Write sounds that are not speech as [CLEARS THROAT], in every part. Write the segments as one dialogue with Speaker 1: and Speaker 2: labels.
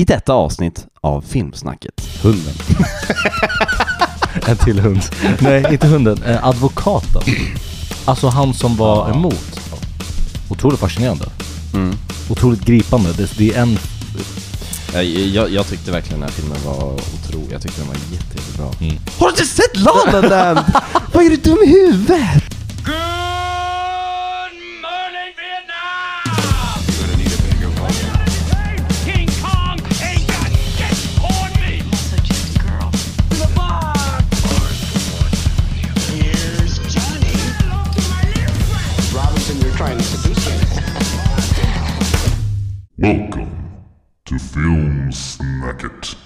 Speaker 1: I detta avsnitt av Filmsnacket.
Speaker 2: Hunden. [LAUGHS] en till hund. Nej, inte hunden. Eh, advokaten. Alltså han som var emot. Otroligt fascinerande. Mm. Otroligt gripande. Det, det är en...
Speaker 1: Jag, jag, jag tyckte verkligen den här filmen var otrolig. Jag tyckte den var jätte, jättebra.
Speaker 2: Mm.
Speaker 1: Har du inte sett La La Land? [LAUGHS] Vad är du dum i huvudet?
Speaker 3: Good morning, Vietnam! You're gonna need a bigger one. King Kong ain't got shit on me!
Speaker 4: also just a girl.
Speaker 3: To the bar! Here's Johnny. Hello to my little friend!
Speaker 5: Robinson, you're trying to seduce me.
Speaker 6: Welcome to Film Snacket.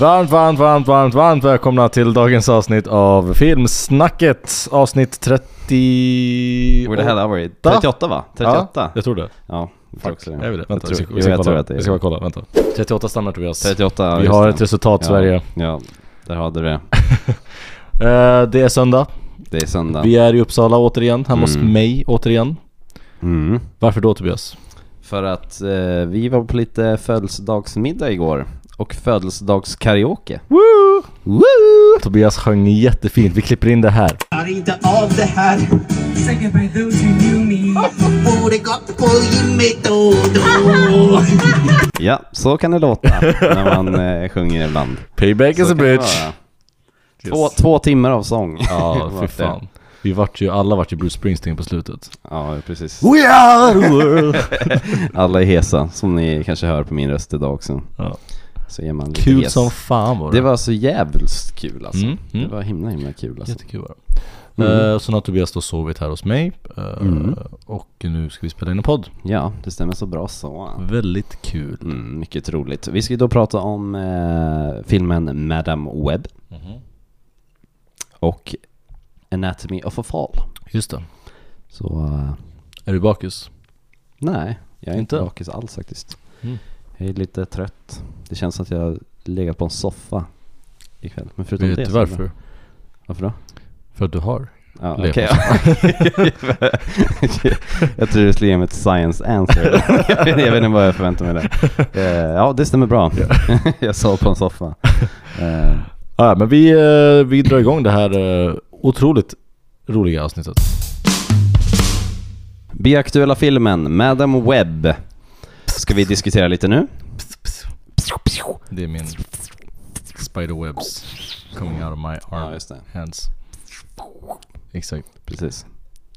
Speaker 2: Varmt, varmt, varmt, varmt, varmt välkomna till dagens avsnitt av Filmsnacket. Avsnitt 30...
Speaker 1: Where the hell are we? 38 va? 38?
Speaker 2: Ja, jag tror det.
Speaker 1: Ja, jag tror också det.
Speaker 2: Är vi det? Vänta,
Speaker 1: jag
Speaker 2: vi
Speaker 1: tror,
Speaker 2: ska, vi ska,
Speaker 1: jag
Speaker 2: kolla.
Speaker 1: tror att det
Speaker 2: vi ska bara
Speaker 1: är
Speaker 2: kolla. Vänta. 38 stannar Tobias.
Speaker 1: 38.
Speaker 2: vi
Speaker 1: just
Speaker 2: har
Speaker 1: det.
Speaker 2: ett resultat
Speaker 1: ja.
Speaker 2: Sverige.
Speaker 1: Ja, där hade du det.
Speaker 2: Eh, det är söndag.
Speaker 1: Det är söndag.
Speaker 2: Vi är i Uppsala återigen. Hemma hos
Speaker 1: Mm.
Speaker 2: mig återigen.
Speaker 1: Mm.
Speaker 2: Varför då Tobias?
Speaker 1: För att eh, vi var på lite födelsedagsmiddag igår. Och födelsedagskaraoke.
Speaker 2: Woo!
Speaker 1: Woo!
Speaker 2: Tobias sjöng jättefint. Vi klipper in det här.
Speaker 7: klarar inte av det här Säkert by those who knew me Borde gått på gymmet då och då
Speaker 1: Ja, så kan det låta när man eh, sjunger ibland.
Speaker 2: Payback
Speaker 1: Så kan det vara. Två, två timmar av sång.
Speaker 2: Ja,
Speaker 1: [LAUGHS]
Speaker 2: fy
Speaker 1: Vart det.
Speaker 2: fan. Vi vart ju, alla vart ju Bruce Springsteen på slutet.
Speaker 1: Ja, precis.
Speaker 2: We are the world!
Speaker 1: [LAUGHS] Alla är hesa, som ni kanske hör på min röst idag också.
Speaker 2: ja.
Speaker 1: Så är man lite
Speaker 2: Kul
Speaker 1: hes.
Speaker 2: som fan var det.
Speaker 1: Det var så jävligt kul alltså.
Speaker 2: Mm, mm.
Speaker 1: Det var himla himla kul alltså.
Speaker 2: jättekul. Var det.
Speaker 1: Mm.
Speaker 2: Eh, så nu har Tobias då sovit här hos mig. eh, Och nu ska vi spela in en podd.
Speaker 1: Ja, det stämmer så bra så.
Speaker 2: Väldigt kul.
Speaker 1: Mm, mycket roligt. Vi ska ju då prata om eh, filmen Madame Webb.
Speaker 2: Mhm.
Speaker 1: Och Anatomy of a Fall.
Speaker 2: Just det.
Speaker 1: Så eh,
Speaker 2: Är du bakis?
Speaker 1: Nej, jag är inte,
Speaker 2: Inte?
Speaker 1: bakis alls faktiskt.
Speaker 2: Mm.
Speaker 1: Jag är lite trött. Det känns som att jag har legat på en soffa ikväll. Men förutom
Speaker 2: Vet
Speaker 1: det
Speaker 2: du
Speaker 1: så är det
Speaker 2: varför?
Speaker 1: bra. Varför då?
Speaker 2: För att du har.
Speaker 1: Ja,
Speaker 2: Legat
Speaker 1: okej. [LAUGHS] jag tror du skulle ge mig ett science
Speaker 2: [LAUGHS]
Speaker 1: answer. jag, vet, jag vet inte vad jag förväntar mig där. Eh, ja, det stämmer bra. [LAUGHS] jag sov på en soffa. Eh,
Speaker 2: Ja, men vi, eh, vi drar igång det här eh, otroligt roliga avsnittet.
Speaker 1: Biaktuella filmen Madame Webb ska vi diskutera lite nu.
Speaker 2: Det är min spiderwebs coming out of my
Speaker 1: Ja,
Speaker 2: arm
Speaker 1: just det.
Speaker 2: hands. Exakt.
Speaker 1: Precis.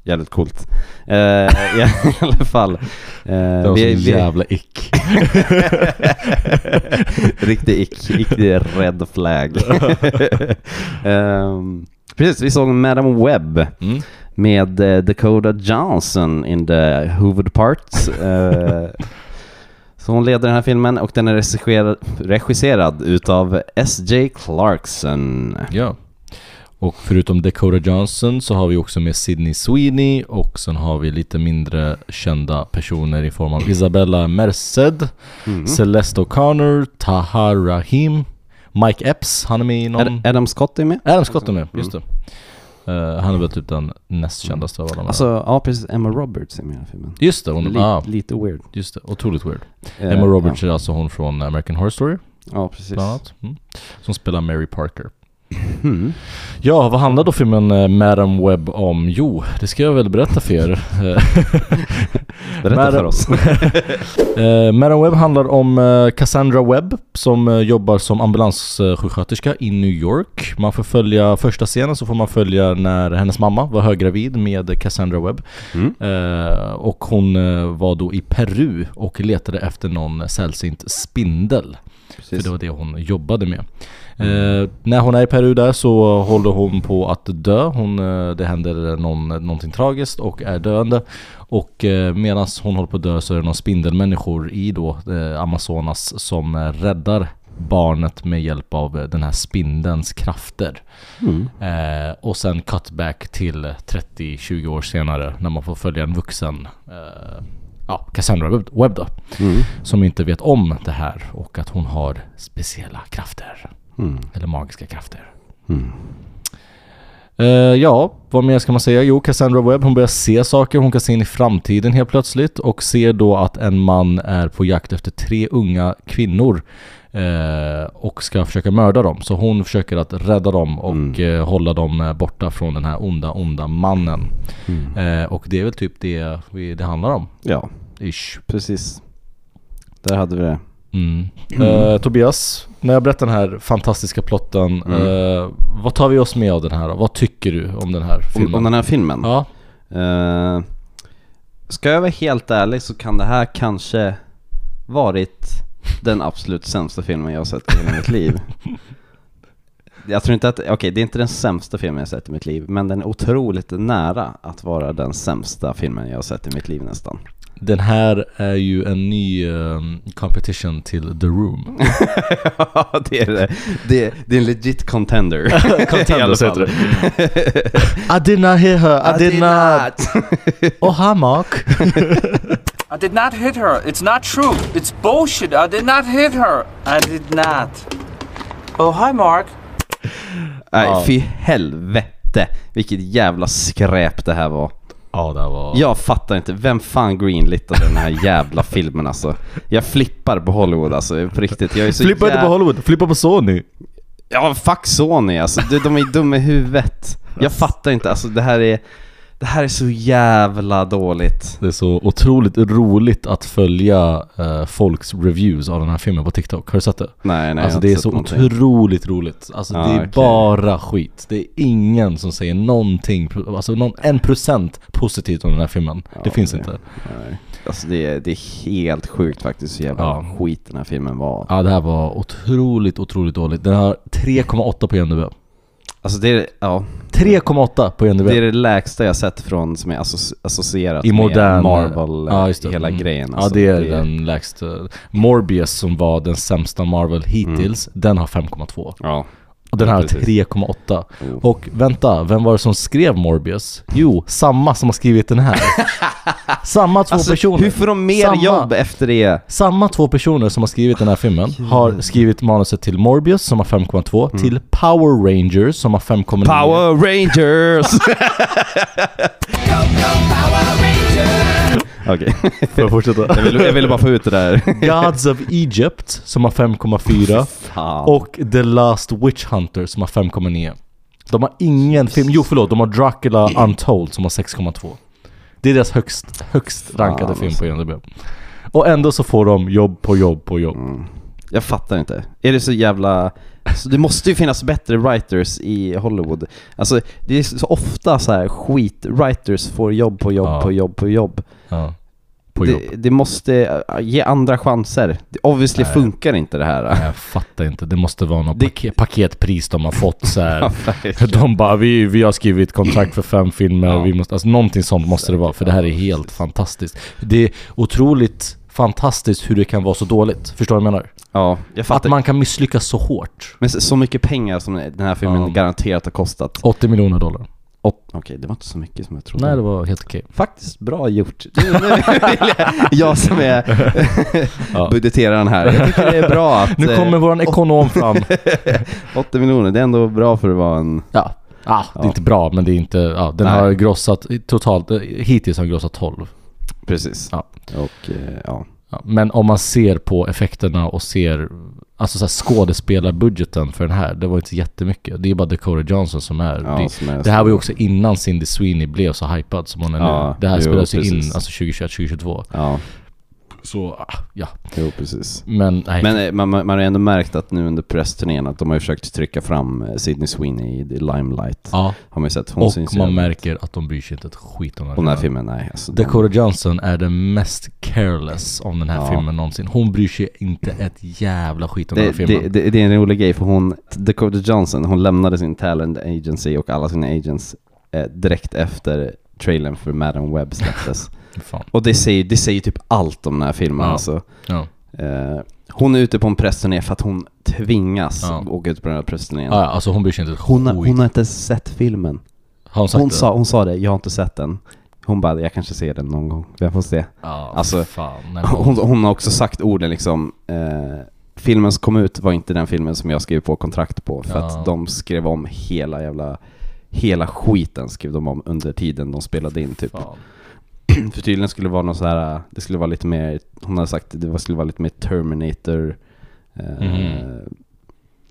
Speaker 1: Jävligt coolt. Eh, [LAUGHS] I alla fall.
Speaker 2: Det
Speaker 1: Eh,
Speaker 2: var
Speaker 1: vi,
Speaker 2: vi, sån
Speaker 1: vi,
Speaker 2: jävla
Speaker 1: [LAUGHS]
Speaker 2: ick.
Speaker 1: riktig ick, riktig red
Speaker 2: [LAUGHS]
Speaker 1: flag. Ehm, precis, vi såg Madame Webb
Speaker 2: Mm.
Speaker 1: med eh, Dakota Johnson in the huvud
Speaker 2: [LAUGHS]
Speaker 1: part. Eh, så hon leder den här filmen och den är regisserad, regisserad utav S.J. Clarkson.
Speaker 2: Ja. Och förutom Dakota Johnson så har vi också med Sydney Sweeney och sen har vi lite mindre kända personer i form av Isabella Merced,
Speaker 1: Mm.
Speaker 2: Celeste O'Connor, Taha Rahim, Mike Epps, han är med i någon...
Speaker 1: Ad- Adam Scott är med.
Speaker 2: Adam Scott
Speaker 1: Mm.
Speaker 2: är med, just det. Eh, han är väl typ den näst kändaste av alla de här.
Speaker 1: Alltså, ja precis, Emma Roberts är med i den här filmen.
Speaker 2: Just det, hon,
Speaker 1: Lite,
Speaker 2: ah,
Speaker 1: lite weird.
Speaker 2: just det, otroligt weird.
Speaker 1: Eh,
Speaker 2: Emma Roberts är alltså hon från American Horror Story
Speaker 1: Ja, ja precis.
Speaker 2: bland annat. Mm. Som spelar Mary Parker.
Speaker 1: Mm.
Speaker 2: Ja, vad handlar då filmen eh, Madam Webb om? Jo, det ska jag väl berätta
Speaker 1: [LAUGHS]
Speaker 2: för er. Eh,
Speaker 1: Berätta
Speaker 2: Madam-
Speaker 1: för oss. [LAUGHS]
Speaker 2: Eh, Madam Webb handlar om eh, Cassandra Webb som eh, jobbar som ambulanssjuksköterska i New York. Man får följa, första scenen så får man följa när hennes mamma var höggravid med Cassandra Webb.
Speaker 1: Mm.
Speaker 2: Eh, och hon eh, var då i Peru och letade efter någon sällsynt spindel. För det var det hon jobbade med. Eh, när hon är i Peru där så håller hon på att dö. Hon, eh, det händer någon, någonting tragiskt och är döende. Och eh, medan hon håller på att dö så är det några spindelmänniskor i då, eh, Amazonas som eh, räddar barnet med hjälp av eh, den här spindelns krafter. Eh, och sen cutback till 30-20 år senare när man får följa en vuxen eh, ja, Cassandra Webb Webb då. Som inte vet om det här och att hon har speciella krafter. Eller magiska krafter. Eh, ja, vad mer ska man säga? Jo, Cassandra Webb, hon börjar se saker, hon kan se in i framtiden helt plötsligt och ser då att en man är på jakt efter tre unga kvinnor eh, och ska försöka mörda dem. Så hon försöker att rädda dem och eh, hålla dem eh, borta från den här onda, onda mannen. Eh, och det är väl typ det vi- det handlar om,
Speaker 1: Ja,
Speaker 2: ish.
Speaker 1: precis. Där hade vi det.
Speaker 2: Mm. Eh, Tobias, när jag berättar den här fantastiska plotten, eh, vad tar vi oss med av den här då? Vad tycker du om den här
Speaker 1: Om,
Speaker 2: filmen?
Speaker 1: om den här filmen.
Speaker 2: Ja,
Speaker 1: Eh, ska jag vara helt ärlig så kan det här kanske varit den absolut sämsta filmen jag har sett i hela mitt liv. Jag tror inte att, okej det är inte den sämsta filmen jag har sett i mitt liv, men den är otroligt nära att vara den sämsta filmen jag har sett i mitt liv nästan. [LAUGHS]
Speaker 2: den här är ju en ny eh, competition till The [LAUGHS] Room.
Speaker 1: Ja, det är det. Det är, det är en legit contender. I alla
Speaker 2: så heter
Speaker 1: fall.
Speaker 2: I did not hear her, I did not... Oh, hi Mark!
Speaker 4: I did not hit her. It's not true. It's bullshit. I did not hit her. I did not. Oh, hi, Mark.
Speaker 1: Nej, fy helvete. Vilket jävla skräp det här var.
Speaker 2: Ja, det här var...
Speaker 1: Jag fattar inte, vem fan greenlitade den här
Speaker 2: [LAUGHS]
Speaker 1: jävla filmen alltså? Jag flippar på Hollywood alltså, på riktigt. Jag är så
Speaker 2: Flippa inte
Speaker 1: jä-
Speaker 2: på Hollywood, flippa på Sony!
Speaker 1: Ja, fuck Sony alltså. De, de är dumma i huvudet. Jag fattar inte, alltså det här är... Det här är så jävla dåligt.
Speaker 2: Det är så otroligt roligt att följa eh, folks reviews av den här filmen på TikTok. Har du sett det?
Speaker 1: Nej, nej, jag
Speaker 2: alltså
Speaker 1: har
Speaker 2: det är
Speaker 1: inte
Speaker 2: så
Speaker 1: sett någonting.
Speaker 2: otroligt roligt. Alltså
Speaker 1: Ja,
Speaker 2: det är
Speaker 1: okej.
Speaker 2: bara skit. Det är ingen som säger någonting, pro- alltså någon, en procent positivt om den här filmen. det finns
Speaker 1: det-
Speaker 2: inte.
Speaker 1: Nej. Alltså det är, det är helt sjukt faktiskt hur jävla
Speaker 2: Ja.
Speaker 1: skit den här filmen var.
Speaker 2: Ja det här var otroligt, otroligt dåligt. Den har 3,8 på IMDB.
Speaker 1: Alltså det är, ja,
Speaker 2: 3,8 på IMDB.
Speaker 1: det är det lägsta jag sett från som är associ- associerat
Speaker 2: I modern...
Speaker 1: med Marvel,
Speaker 2: Ja, just det.
Speaker 1: hela
Speaker 2: Mm.
Speaker 1: grejen.
Speaker 2: Ja
Speaker 1: Alltså,
Speaker 2: det är den lägsta. Morbius som var den sämsta Marvel hittills,
Speaker 1: Mm.
Speaker 2: den har 5,2.
Speaker 1: Ja.
Speaker 2: Och den här har
Speaker 1: Precis. Oh.
Speaker 2: 3,8. Och vänta, vem var det som skrev Morbius? Jo, samma som har skrivit
Speaker 1: [LAUGHS]
Speaker 2: den här. samma två
Speaker 1: Alltså,
Speaker 2: personer.
Speaker 1: hur får de mer
Speaker 2: samma,
Speaker 1: jobb efter det?
Speaker 2: Samma två personer som har skrivit den här filmen har skrivit manuset till Morbius som har 5,2,
Speaker 1: Mm.
Speaker 2: till Power Rangers som har 5,9.
Speaker 1: Rangers! [LAUGHS] Okej,
Speaker 2: Får jag fortsätta?
Speaker 1: jag, ville- jag ville bara få ut det där.
Speaker 2: Gods of Egypt som har 5,4
Speaker 1: Fan.
Speaker 2: och The Last Witch Hunter som har 5,9. De har ingen film, jo förlåt, de har Dracula
Speaker 1: Mm.
Speaker 2: Untold som har 6,2. Det är deras högst, högst rankade
Speaker 1: alltså.
Speaker 2: film på IMDB. Och ändå så får de jobb på jobb på jobb.
Speaker 1: Mm. Jag fattar inte. Är det så jävla... Alltså, det måste ju finnas bättre writers i Hollywood. Alltså det är så ofta så här skit. Writers får jobb på jobb
Speaker 2: Ja.
Speaker 1: på jobb på jobb.
Speaker 2: Ja. På jobb.
Speaker 1: Det, det måste äh, ge andra chanser. Det- Obviously funkar inte det här.
Speaker 2: Jag fattar inte, det måste vara något
Speaker 1: Det-
Speaker 2: paket, paketpris de har fått så här.
Speaker 1: verkligen.
Speaker 2: [LAUGHS] De bara vi, vi har skrivit kontrakt för fem filmer, vi måste, alltså någonting sånt måste det vara för det här är helt fantastiskt. Det är otroligt fantastiskt hur det kan vara så dåligt, förstår du vad jag menar?
Speaker 1: [LAUGHS] Ja, jag
Speaker 2: Att
Speaker 1: fattar.
Speaker 2: man kan misslyckas så hårt.
Speaker 1: Men så- så mycket pengar som den här filmen
Speaker 2: Ja.
Speaker 1: garanterat har kostat.
Speaker 2: 80 miljoner dollar.
Speaker 1: Och, okej, det var inte så mycket som jag trodde.
Speaker 2: Nej det var helt okej.
Speaker 1: Faktiskt bra gjort. Nu- nu vill jag- jag som [LAUGHS] är
Speaker 2: Ja.
Speaker 1: budgeteraren här. Jag tycker det är bra att...
Speaker 2: Nu
Speaker 1: eh,
Speaker 2: kommer våran ekonom
Speaker 1: [LAUGHS]
Speaker 2: fram.
Speaker 1: 80 miljoner, det är ändå bra för att vara en...
Speaker 2: Ja. Ah, det är inte bra men det är inte, ja, den
Speaker 1: Nej.
Speaker 2: har grossat totalt, eh, hittills har den grossat 12.
Speaker 1: Precis.
Speaker 2: Ja.
Speaker 1: Och, eh, ja.
Speaker 2: Ja, men om man ser på effekterna och ser Alltså så här skådespelarbudgeten för den här, det var inte jättemycket. Det är bara Dakota Johnson som är...
Speaker 1: Ja,
Speaker 2: det,
Speaker 1: som är-
Speaker 2: det här var ju också innan Cindy Sweeney blev så hypad som hon är
Speaker 1: Ja,
Speaker 2: nu. Det här
Speaker 1: jo,
Speaker 2: spelades ju in
Speaker 1: precis.
Speaker 2: alltså 2021, 2022.
Speaker 1: Ja,
Speaker 2: Så, ah, ja.
Speaker 1: jo precis.
Speaker 2: Men nej.
Speaker 1: Men eh, man, man man har ändå märkt att nu under pressturnén att de har ju försökt trycka fram eh, Sydney Sweeney i The Limelight.
Speaker 2: ja.
Speaker 1: Har man ju sett. Hon syns
Speaker 2: Och
Speaker 1: ju
Speaker 2: man
Speaker 1: i
Speaker 2: märker att de bryr sig inte ett skit om
Speaker 1: den här filmen, nej. Alltså, de-
Speaker 2: Dakota Johnson är den mest careless om den här
Speaker 1: Ja.
Speaker 2: filmen någonsin. Hon bryr sig inte ett jävla skit om den
Speaker 1: Det,
Speaker 2: här filmen.
Speaker 1: det, det, det är en rolig grej för hon, Dakota Johnson, hon lämnade sin talent agency och alla sina agents eh, direkt efter trailern för Madam Web
Speaker 2: [LAUGHS]
Speaker 1: släpptes.
Speaker 2: Fan.
Speaker 1: och det säger, det säger typ allt om den här filmen
Speaker 2: Ja.
Speaker 1: alltså.
Speaker 2: Ja.
Speaker 1: Eh, hon är ute på en pressturné för att hon tvingas
Speaker 2: Ja.
Speaker 1: åka ut på den här pressturnén.
Speaker 2: Ah, ja, alltså hon bryr sig inte ett
Speaker 1: Hon, har,
Speaker 2: skit.
Speaker 1: hon har inte sett filmen.
Speaker 2: Har hon sagt
Speaker 1: Hon
Speaker 2: det?
Speaker 1: sa, hon sa det, jag har inte sett den. Hon bara, jag kanske ser den någon gång. Jag får se.
Speaker 2: Ja,
Speaker 1: Alltså,
Speaker 2: fan. Nej,
Speaker 1: [LAUGHS]
Speaker 2: men-
Speaker 1: Hon, hon har också sagt orden liksom eh, Filmen som kom ut var inte den filmen som jag skrev på kontrakt på för
Speaker 2: Ja.
Speaker 1: att de skrev om hela jävla Hela skiten skrev de om under tiden de spelade in typ.
Speaker 2: Fan.
Speaker 1: [CLEARS THROAT] För tydligen skulle det vara något så här, det skulle vara lite mer, hon hade sagt att det var- skulle vara lite mer Terminator eh,
Speaker 2: Mhm.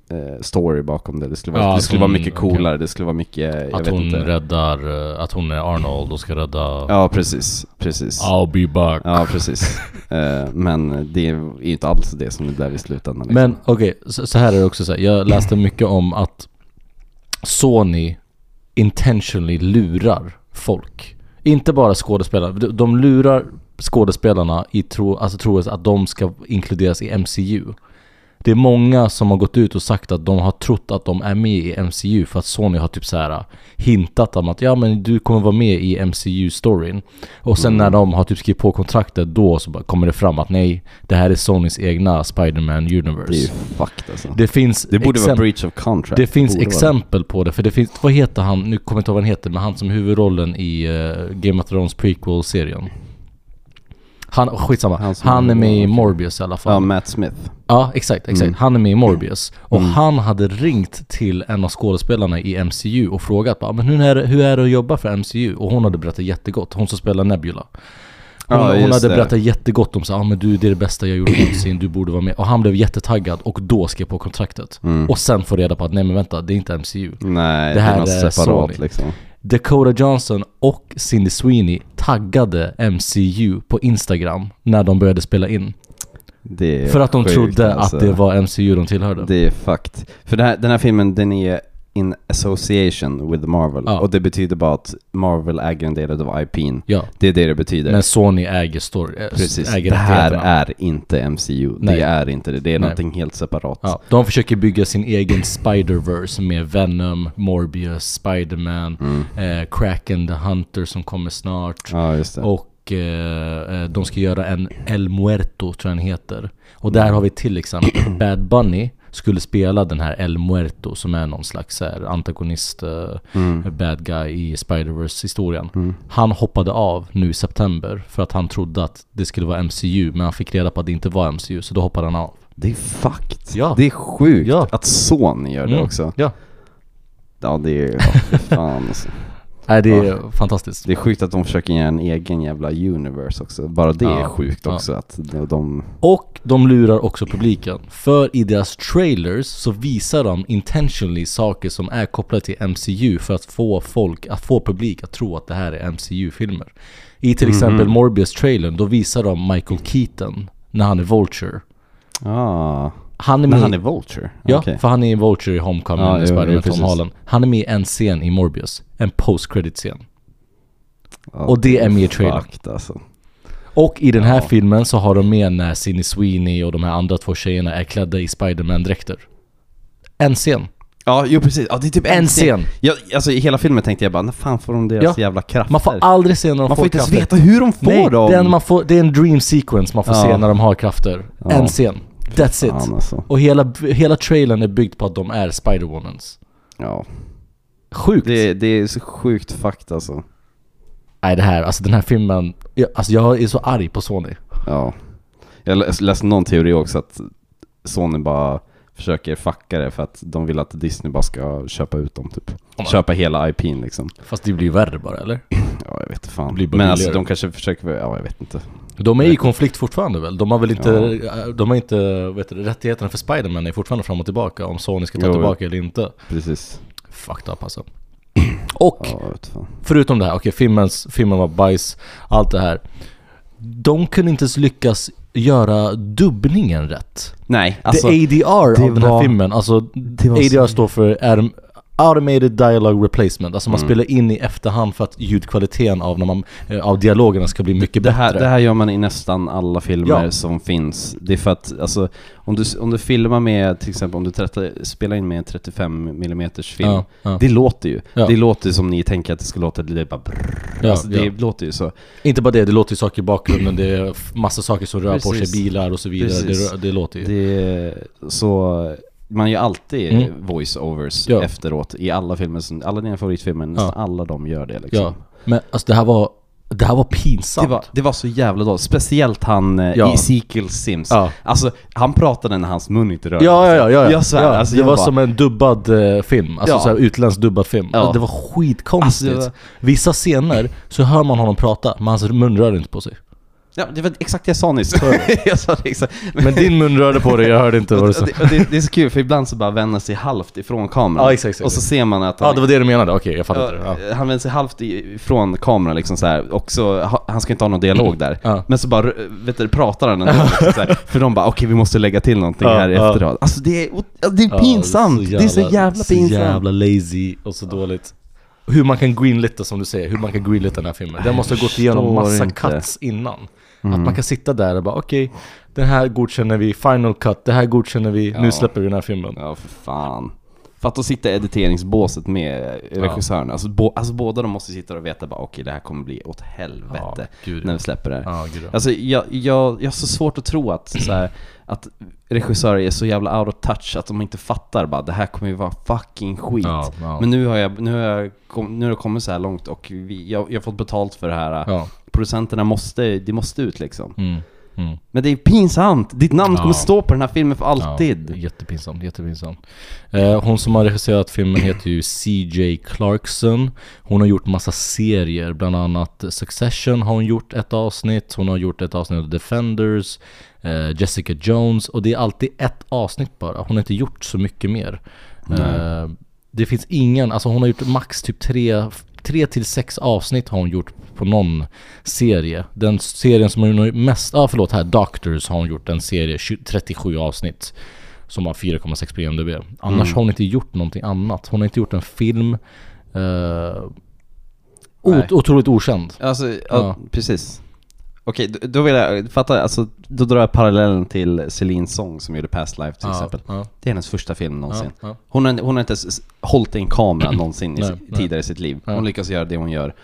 Speaker 1: eh, story bakom det. Det skulle vara,
Speaker 2: Ja,
Speaker 1: det skulle
Speaker 2: att
Speaker 1: vara
Speaker 2: hon-
Speaker 1: mycket coolare, det skulle vara mycket, jag
Speaker 2: Att
Speaker 1: vet
Speaker 2: hon
Speaker 1: inte.
Speaker 2: räddar, eh, att hon är Arnold och ska rädda
Speaker 1: Ja, precis, precis.
Speaker 2: I'll be back.
Speaker 1: Ja, precis.
Speaker 2: [LAUGHS]
Speaker 1: Eh, men det är ju inte alls det som det blev i slutändan. liksom.
Speaker 2: Men okej, så, så här är det också så här. Jag läste mycket om att Sony intentionally lurar folk. Inte bara skådespelare. De, de lurar skådespelarna i tro, alltså troes att de ska inkluderas i MCU. Det är många som har gått ut och sagt att de har trott att de är med i MCU för att Sony har typ så här hintat om att ja men du kommer vara med i MCU-storyn. Och sen
Speaker 1: Mm.
Speaker 2: när de har typ skrivit på kontraktet då så bara kommer det fram att nej, det här är Sonys egna Spider-Man Universe.
Speaker 1: det är ju fucked alltså. Det,
Speaker 2: det finns
Speaker 1: borde vara
Speaker 2: exempel-
Speaker 1: breach of contract.
Speaker 2: det finns
Speaker 1: Borde vara
Speaker 2: exempel på det, för det finns, vad heter han, nu kommer jag inte ihåg vad han heter, men han som är huvudrollen i eh, Game of Thrones prequel-serien. Han, skitsamma,
Speaker 1: Han
Speaker 2: han,
Speaker 1: som är
Speaker 2: är med i
Speaker 1: huvudrollen,
Speaker 2: Morbius i alla fall.
Speaker 1: Ja, Matt Smith.
Speaker 2: Ja, exakt, exakt.
Speaker 1: Mm.
Speaker 2: Han är med i Morbius. Och han hade ringt till en av skådespelarna i MCU och frågat bara, men hur är, det, hur är det att jobba för MCU? Och hon hade berättat jättegott, hon som spelar Nebula. Hon,
Speaker 1: Ja,
Speaker 2: hon
Speaker 1: just
Speaker 2: hade
Speaker 1: det.
Speaker 2: berättat jättegott om så ah, men du det är det bästa jag gjort någonsin, du borde vara med. Och han blev jättetaggad och då skrev på kontraktet.
Speaker 1: Mm.
Speaker 2: Och sen får reda på att nej men vänta, det är inte MCU.
Speaker 1: Nej, det,
Speaker 2: Det
Speaker 1: är
Speaker 2: här
Speaker 1: något
Speaker 2: är
Speaker 1: separat
Speaker 2: Sony.
Speaker 1: liksom.
Speaker 2: Dakota Johnson och Cindy Sweeney taggade MCU på Instagram när de började spela in.
Speaker 1: Det är
Speaker 2: För att de
Speaker 1: sjukt,
Speaker 2: trodde
Speaker 1: alltså.
Speaker 2: att det var MCU de tillhörde.
Speaker 1: Det är fucked. För det här, den här filmen, den är in association with Marvel.
Speaker 2: Ja.
Speaker 1: Och det betyder bara att Marvel äger en del av IPn.
Speaker 2: Ja.
Speaker 1: Det är det det betyder.
Speaker 2: Men Sony äger story, äh,
Speaker 1: Precis.
Speaker 2: äger
Speaker 1: Det här
Speaker 2: rättigheterna.
Speaker 1: är inte MCU.
Speaker 2: Nej.
Speaker 1: Det är inte det. Det är
Speaker 2: Nej.
Speaker 1: någonting helt separat.
Speaker 2: Ja, de försöker bygga sin egen Spider-Verse med Venom, Morbius, Spider-Man,
Speaker 1: Mm.
Speaker 2: eh, Kraken the Hunter som kommer snart.
Speaker 1: Ja, just det.
Speaker 2: Och eh, eh, de ska göra en El Muerto, tror jag den heter. Och där har vi
Speaker 1: [CLEARS THROAT]
Speaker 2: till exempel Bad Bunny skulle spela den här El Muerto som är någon slags så här, antagonist, eh,
Speaker 1: Mm.
Speaker 2: bad guy i Spider-Verse historien. Han hoppade av nu i september för att han trodde att det skulle vara MCU, men han fick reda på att det inte var MCU, så då hoppade han av.
Speaker 1: Det är fucked.
Speaker 2: Ja.
Speaker 1: Det är sjukt
Speaker 2: Ja.
Speaker 1: att Sony gör det
Speaker 2: Mm,
Speaker 1: också.
Speaker 2: Ja.
Speaker 1: Ja, det är ja, fy fan alltså.
Speaker 2: Nej, det är fantastiskt.
Speaker 1: Det är sjukt att de försöker göra en egen jävla universe också. Bara det är
Speaker 2: Ja.
Speaker 1: sjukt
Speaker 2: Ja.
Speaker 1: också att de... de
Speaker 2: Och de lurar också publiken. För i deras trailers så visar de intentionally saker som är kopplade till MCU för att få folk, att få publik att tro att det här är MCU-filmer. I
Speaker 1: Mhm.
Speaker 2: till exempel Morbius-trailern, då visar de Michael Keaton när han är Vulture.
Speaker 1: ah.
Speaker 2: Han är
Speaker 1: Men
Speaker 2: med,
Speaker 1: han är Vulture?
Speaker 2: Mm. Ja,
Speaker 1: Okej.
Speaker 2: för han är Vulture i Homecoming
Speaker 1: Ja,
Speaker 2: med
Speaker 1: jo, jo,
Speaker 2: Spider-Man Tom
Speaker 1: precis.
Speaker 2: Holland. Han är med i en scen i Morbius, en post-credit-scen. och det är med i trailern.
Speaker 1: Fucked alltså.
Speaker 2: Och i den här filmen så har de med när Cindy Sweeney och de här andra två tjejerna är klädda i Spiderman-dräkter. En scen.
Speaker 1: Ja, jo precis. Ja, det är typ
Speaker 2: En scen.
Speaker 1: Jag, alltså i hela filmen tänkte jag bara, när fan får de deras
Speaker 2: Ja.
Speaker 1: jävla krafter?
Speaker 2: Man får aldrig se när de
Speaker 1: Man får inte ens
Speaker 2: krafter.
Speaker 1: veta hur de får
Speaker 2: Nej,
Speaker 1: dem!
Speaker 2: Den man får, det är en dream sequence man får
Speaker 1: Ja.
Speaker 2: se när de har krafter. En scen. That's it.
Speaker 1: fan, alltså.
Speaker 2: Och hela, hela trailern är byggd på att de är Spider-Womans.
Speaker 1: Ja.
Speaker 2: Sjukt!
Speaker 1: Det, det är så sjukt fucked alltså.
Speaker 2: Nej det här, alltså den här filmen, jag, alltså jag är så arg på Sony.
Speaker 1: Ja. Jag läs- läste någon teori också att Sony bara försöker fucka det för att de vill att Disney bara ska köpa ut dem typ. Köpa hela IPn liksom.
Speaker 2: Fast det blir ju värre bara eller?
Speaker 1: Ja, jag vet fan.
Speaker 2: blir bara
Speaker 1: Men alltså
Speaker 2: billigare.
Speaker 1: de kanske försöker, ja jag vet inte.
Speaker 2: De är i konflikt fortfarande väl? De har väl inte, de har inte, vet du, rättigheterna för Spider-Man är fortfarande fram och tillbaka om Sony ska ta
Speaker 1: Jo, jo.
Speaker 2: tillbaka eller inte.
Speaker 1: Precis.
Speaker 2: Fucked up alltså. Och
Speaker 1: Ja, jag vet fan.
Speaker 2: förutom det här, okej filmens, filmen var bajs, allt det här. De kunde inte ens lyckas göra dubbningen rätt.
Speaker 1: Nej, alltså.
Speaker 2: det ADR
Speaker 1: det
Speaker 2: av den här
Speaker 1: var-
Speaker 2: filmen, alltså
Speaker 1: var så-
Speaker 2: ADR står för Adam- Automated Dialogue Replacement, alltså man spelar in i efterhand för att ljudkvaliteten av, när man, eh, av dialogerna ska bli mycket
Speaker 1: Det
Speaker 2: bättre.
Speaker 1: här, det här gör man i nästan alla filmer
Speaker 2: Ja.
Speaker 1: som finns. Det är för att, alltså, om du, om du filmar med, till exempel om du trätta- spelar in med en 35 mm film,
Speaker 2: Ja, ja.
Speaker 1: det låter ju.
Speaker 2: Ja.
Speaker 1: Det låter ju som ni tänker att det ska låta, det är bara brrr.
Speaker 2: Ja,
Speaker 1: alltså, det
Speaker 2: ja.
Speaker 1: låter ju så.
Speaker 2: Inte bara det, det låter ju saker i bakgrunden, det är f- massa saker som rör på
Speaker 1: Precis.
Speaker 2: sig, bilar och så vidare. Det,
Speaker 1: Precis.
Speaker 2: rör- det låter ju.
Speaker 1: Det är, så man gör alltid
Speaker 2: Mm.
Speaker 1: voice-overs
Speaker 2: Ja.
Speaker 1: efteråt i alla filmer, som- alla dina favoritfilmer, nästan alla de gör det liksom.
Speaker 2: Ja, men alltså det här var Det här var pinsamt.
Speaker 1: Det var, det var så jävla dåligt, speciellt han eh,
Speaker 2: Ja.
Speaker 1: Ezekiel Sims.
Speaker 2: Ja.
Speaker 1: Alltså, han pratade när hans mun inte rörde
Speaker 2: Ja, ja,
Speaker 1: sig.
Speaker 2: ja, ja.
Speaker 1: Jag svär,
Speaker 2: ja.
Speaker 1: alltså,
Speaker 2: det
Speaker 1: jag
Speaker 2: var
Speaker 1: bara,
Speaker 2: som en dubbad eh, film, alltså
Speaker 1: Ja.
Speaker 2: så här utländsk dubbad film.
Speaker 1: Ja.
Speaker 2: Det var skitkonstigt.
Speaker 1: Alltså, det var-
Speaker 2: Vissa scener så hör man honom prata, men hans mun rör inte på sig.
Speaker 1: ja, det var exakt det jag sa nyss. [LAUGHS] jag sa det
Speaker 2: [LAUGHS]
Speaker 1: exakt.
Speaker 2: Men din mun rörde på dig, jag hörde inte vad du sa.
Speaker 1: Och det, och det, det är så kul, för ibland så bara vänder sig halvt ifrån kameran.
Speaker 2: Ja, exakt, exakt.
Speaker 1: Och så ser man att han...
Speaker 2: Ja, det var det du menade. Okej, jag fattade det. Ja.
Speaker 1: Ja, Han vänder sig halvt i- ifrån kameran liksom så här. och så, ha- han ska inte ha någon dialog där.
Speaker 2: Ja.
Speaker 1: Men så bara, vet du, pratar han ändå liksom så här. För de bara, okej vi måste lägga till någonting
Speaker 2: Ja,
Speaker 1: här
Speaker 2: ja.
Speaker 1: efteråt. Alltså det är, o- det är
Speaker 2: Ja,
Speaker 1: pinsamt! det, är så jävla pinsamt!
Speaker 2: Så jävla lazy och så dåligt. Hur man kan greenlitta som du säger, hur man kan greenlitta den här filmen. Den måste ha gått igenom
Speaker 1: förstår
Speaker 2: massa
Speaker 1: inte. Mm.
Speaker 2: cuts innan. Att man kan sitta där och bara okej, den här godkänner vi, final cut, det här godkänner vi, nu släpper vi den här filmen.
Speaker 1: Ja, för fan. För att de sitter i editeringsbåset med regissören. Alltså, bå- alltså båda de måste sitta och veta bara okej det här kommer bli åt helvete
Speaker 2: Ja, gud,
Speaker 1: när
Speaker 2: ja.
Speaker 1: vi släpper det här.
Speaker 2: Ja, gud, ja.
Speaker 1: Alltså jag, jag, jag har så svårt att tro att, så här, att regissörer är så jävla out of touch att de inte fattar bara det här kommer ju vara fucking skit.
Speaker 2: Ja, ja.
Speaker 1: Men nu har jag, nu har jag, kom, nu har jag kommit så här långt och vi, jag, jag har fått betalt för det här.
Speaker 2: Ja.
Speaker 1: Producenterna måste, det måste ut liksom.
Speaker 2: Mm, mm.
Speaker 1: Men det är pinsamt! Ditt namn
Speaker 2: Ja.
Speaker 1: kommer stå på den här filmen för alltid.
Speaker 2: Ja, jättepinsamt, jättepinsamt. Eh, hon som har regisserat filmen heter ju CJ Clarkson. Hon har gjort massa serier, bland annat Succession har hon gjort ett avsnitt, hon har gjort ett avsnitt av Defenders, eh, Jessica Jones och det är alltid ett avsnitt bara. Hon har inte gjort så mycket mer. Eh, det finns ingen, alltså hon har gjort max typ tre, tre till sex avsnitt har hon gjort på någon serie. Den serien som hon har gjort mest, ja ah, förlåt här, Doctors har hon gjort en serie, 20 37 avsnitt. Som har 4,6 på IMDB. Annars har hon inte gjort någonting annat. Hon har inte gjort en film. Uh,
Speaker 1: Nej.
Speaker 2: otroligt okänd.
Speaker 1: Alltså, ja,
Speaker 2: Ja.
Speaker 1: precis. Okej, då- då vill jag fatta, alltså, då drar jag parallellen till Celine Song som gjorde Past Life till
Speaker 2: Ja,
Speaker 1: exempel.
Speaker 2: ja.
Speaker 1: Det är hennes första film någonsin.
Speaker 2: Ja, ja.
Speaker 1: Hon, har, hon har inte ens hållit i en kamera
Speaker 2: [CLEARS THROAT]
Speaker 1: någonsin i
Speaker 2: Nej,
Speaker 1: sitt-
Speaker 2: nej.
Speaker 1: tidigare i sitt liv. Hon
Speaker 2: Ja. Mm.
Speaker 1: lyckas göra det hon gör.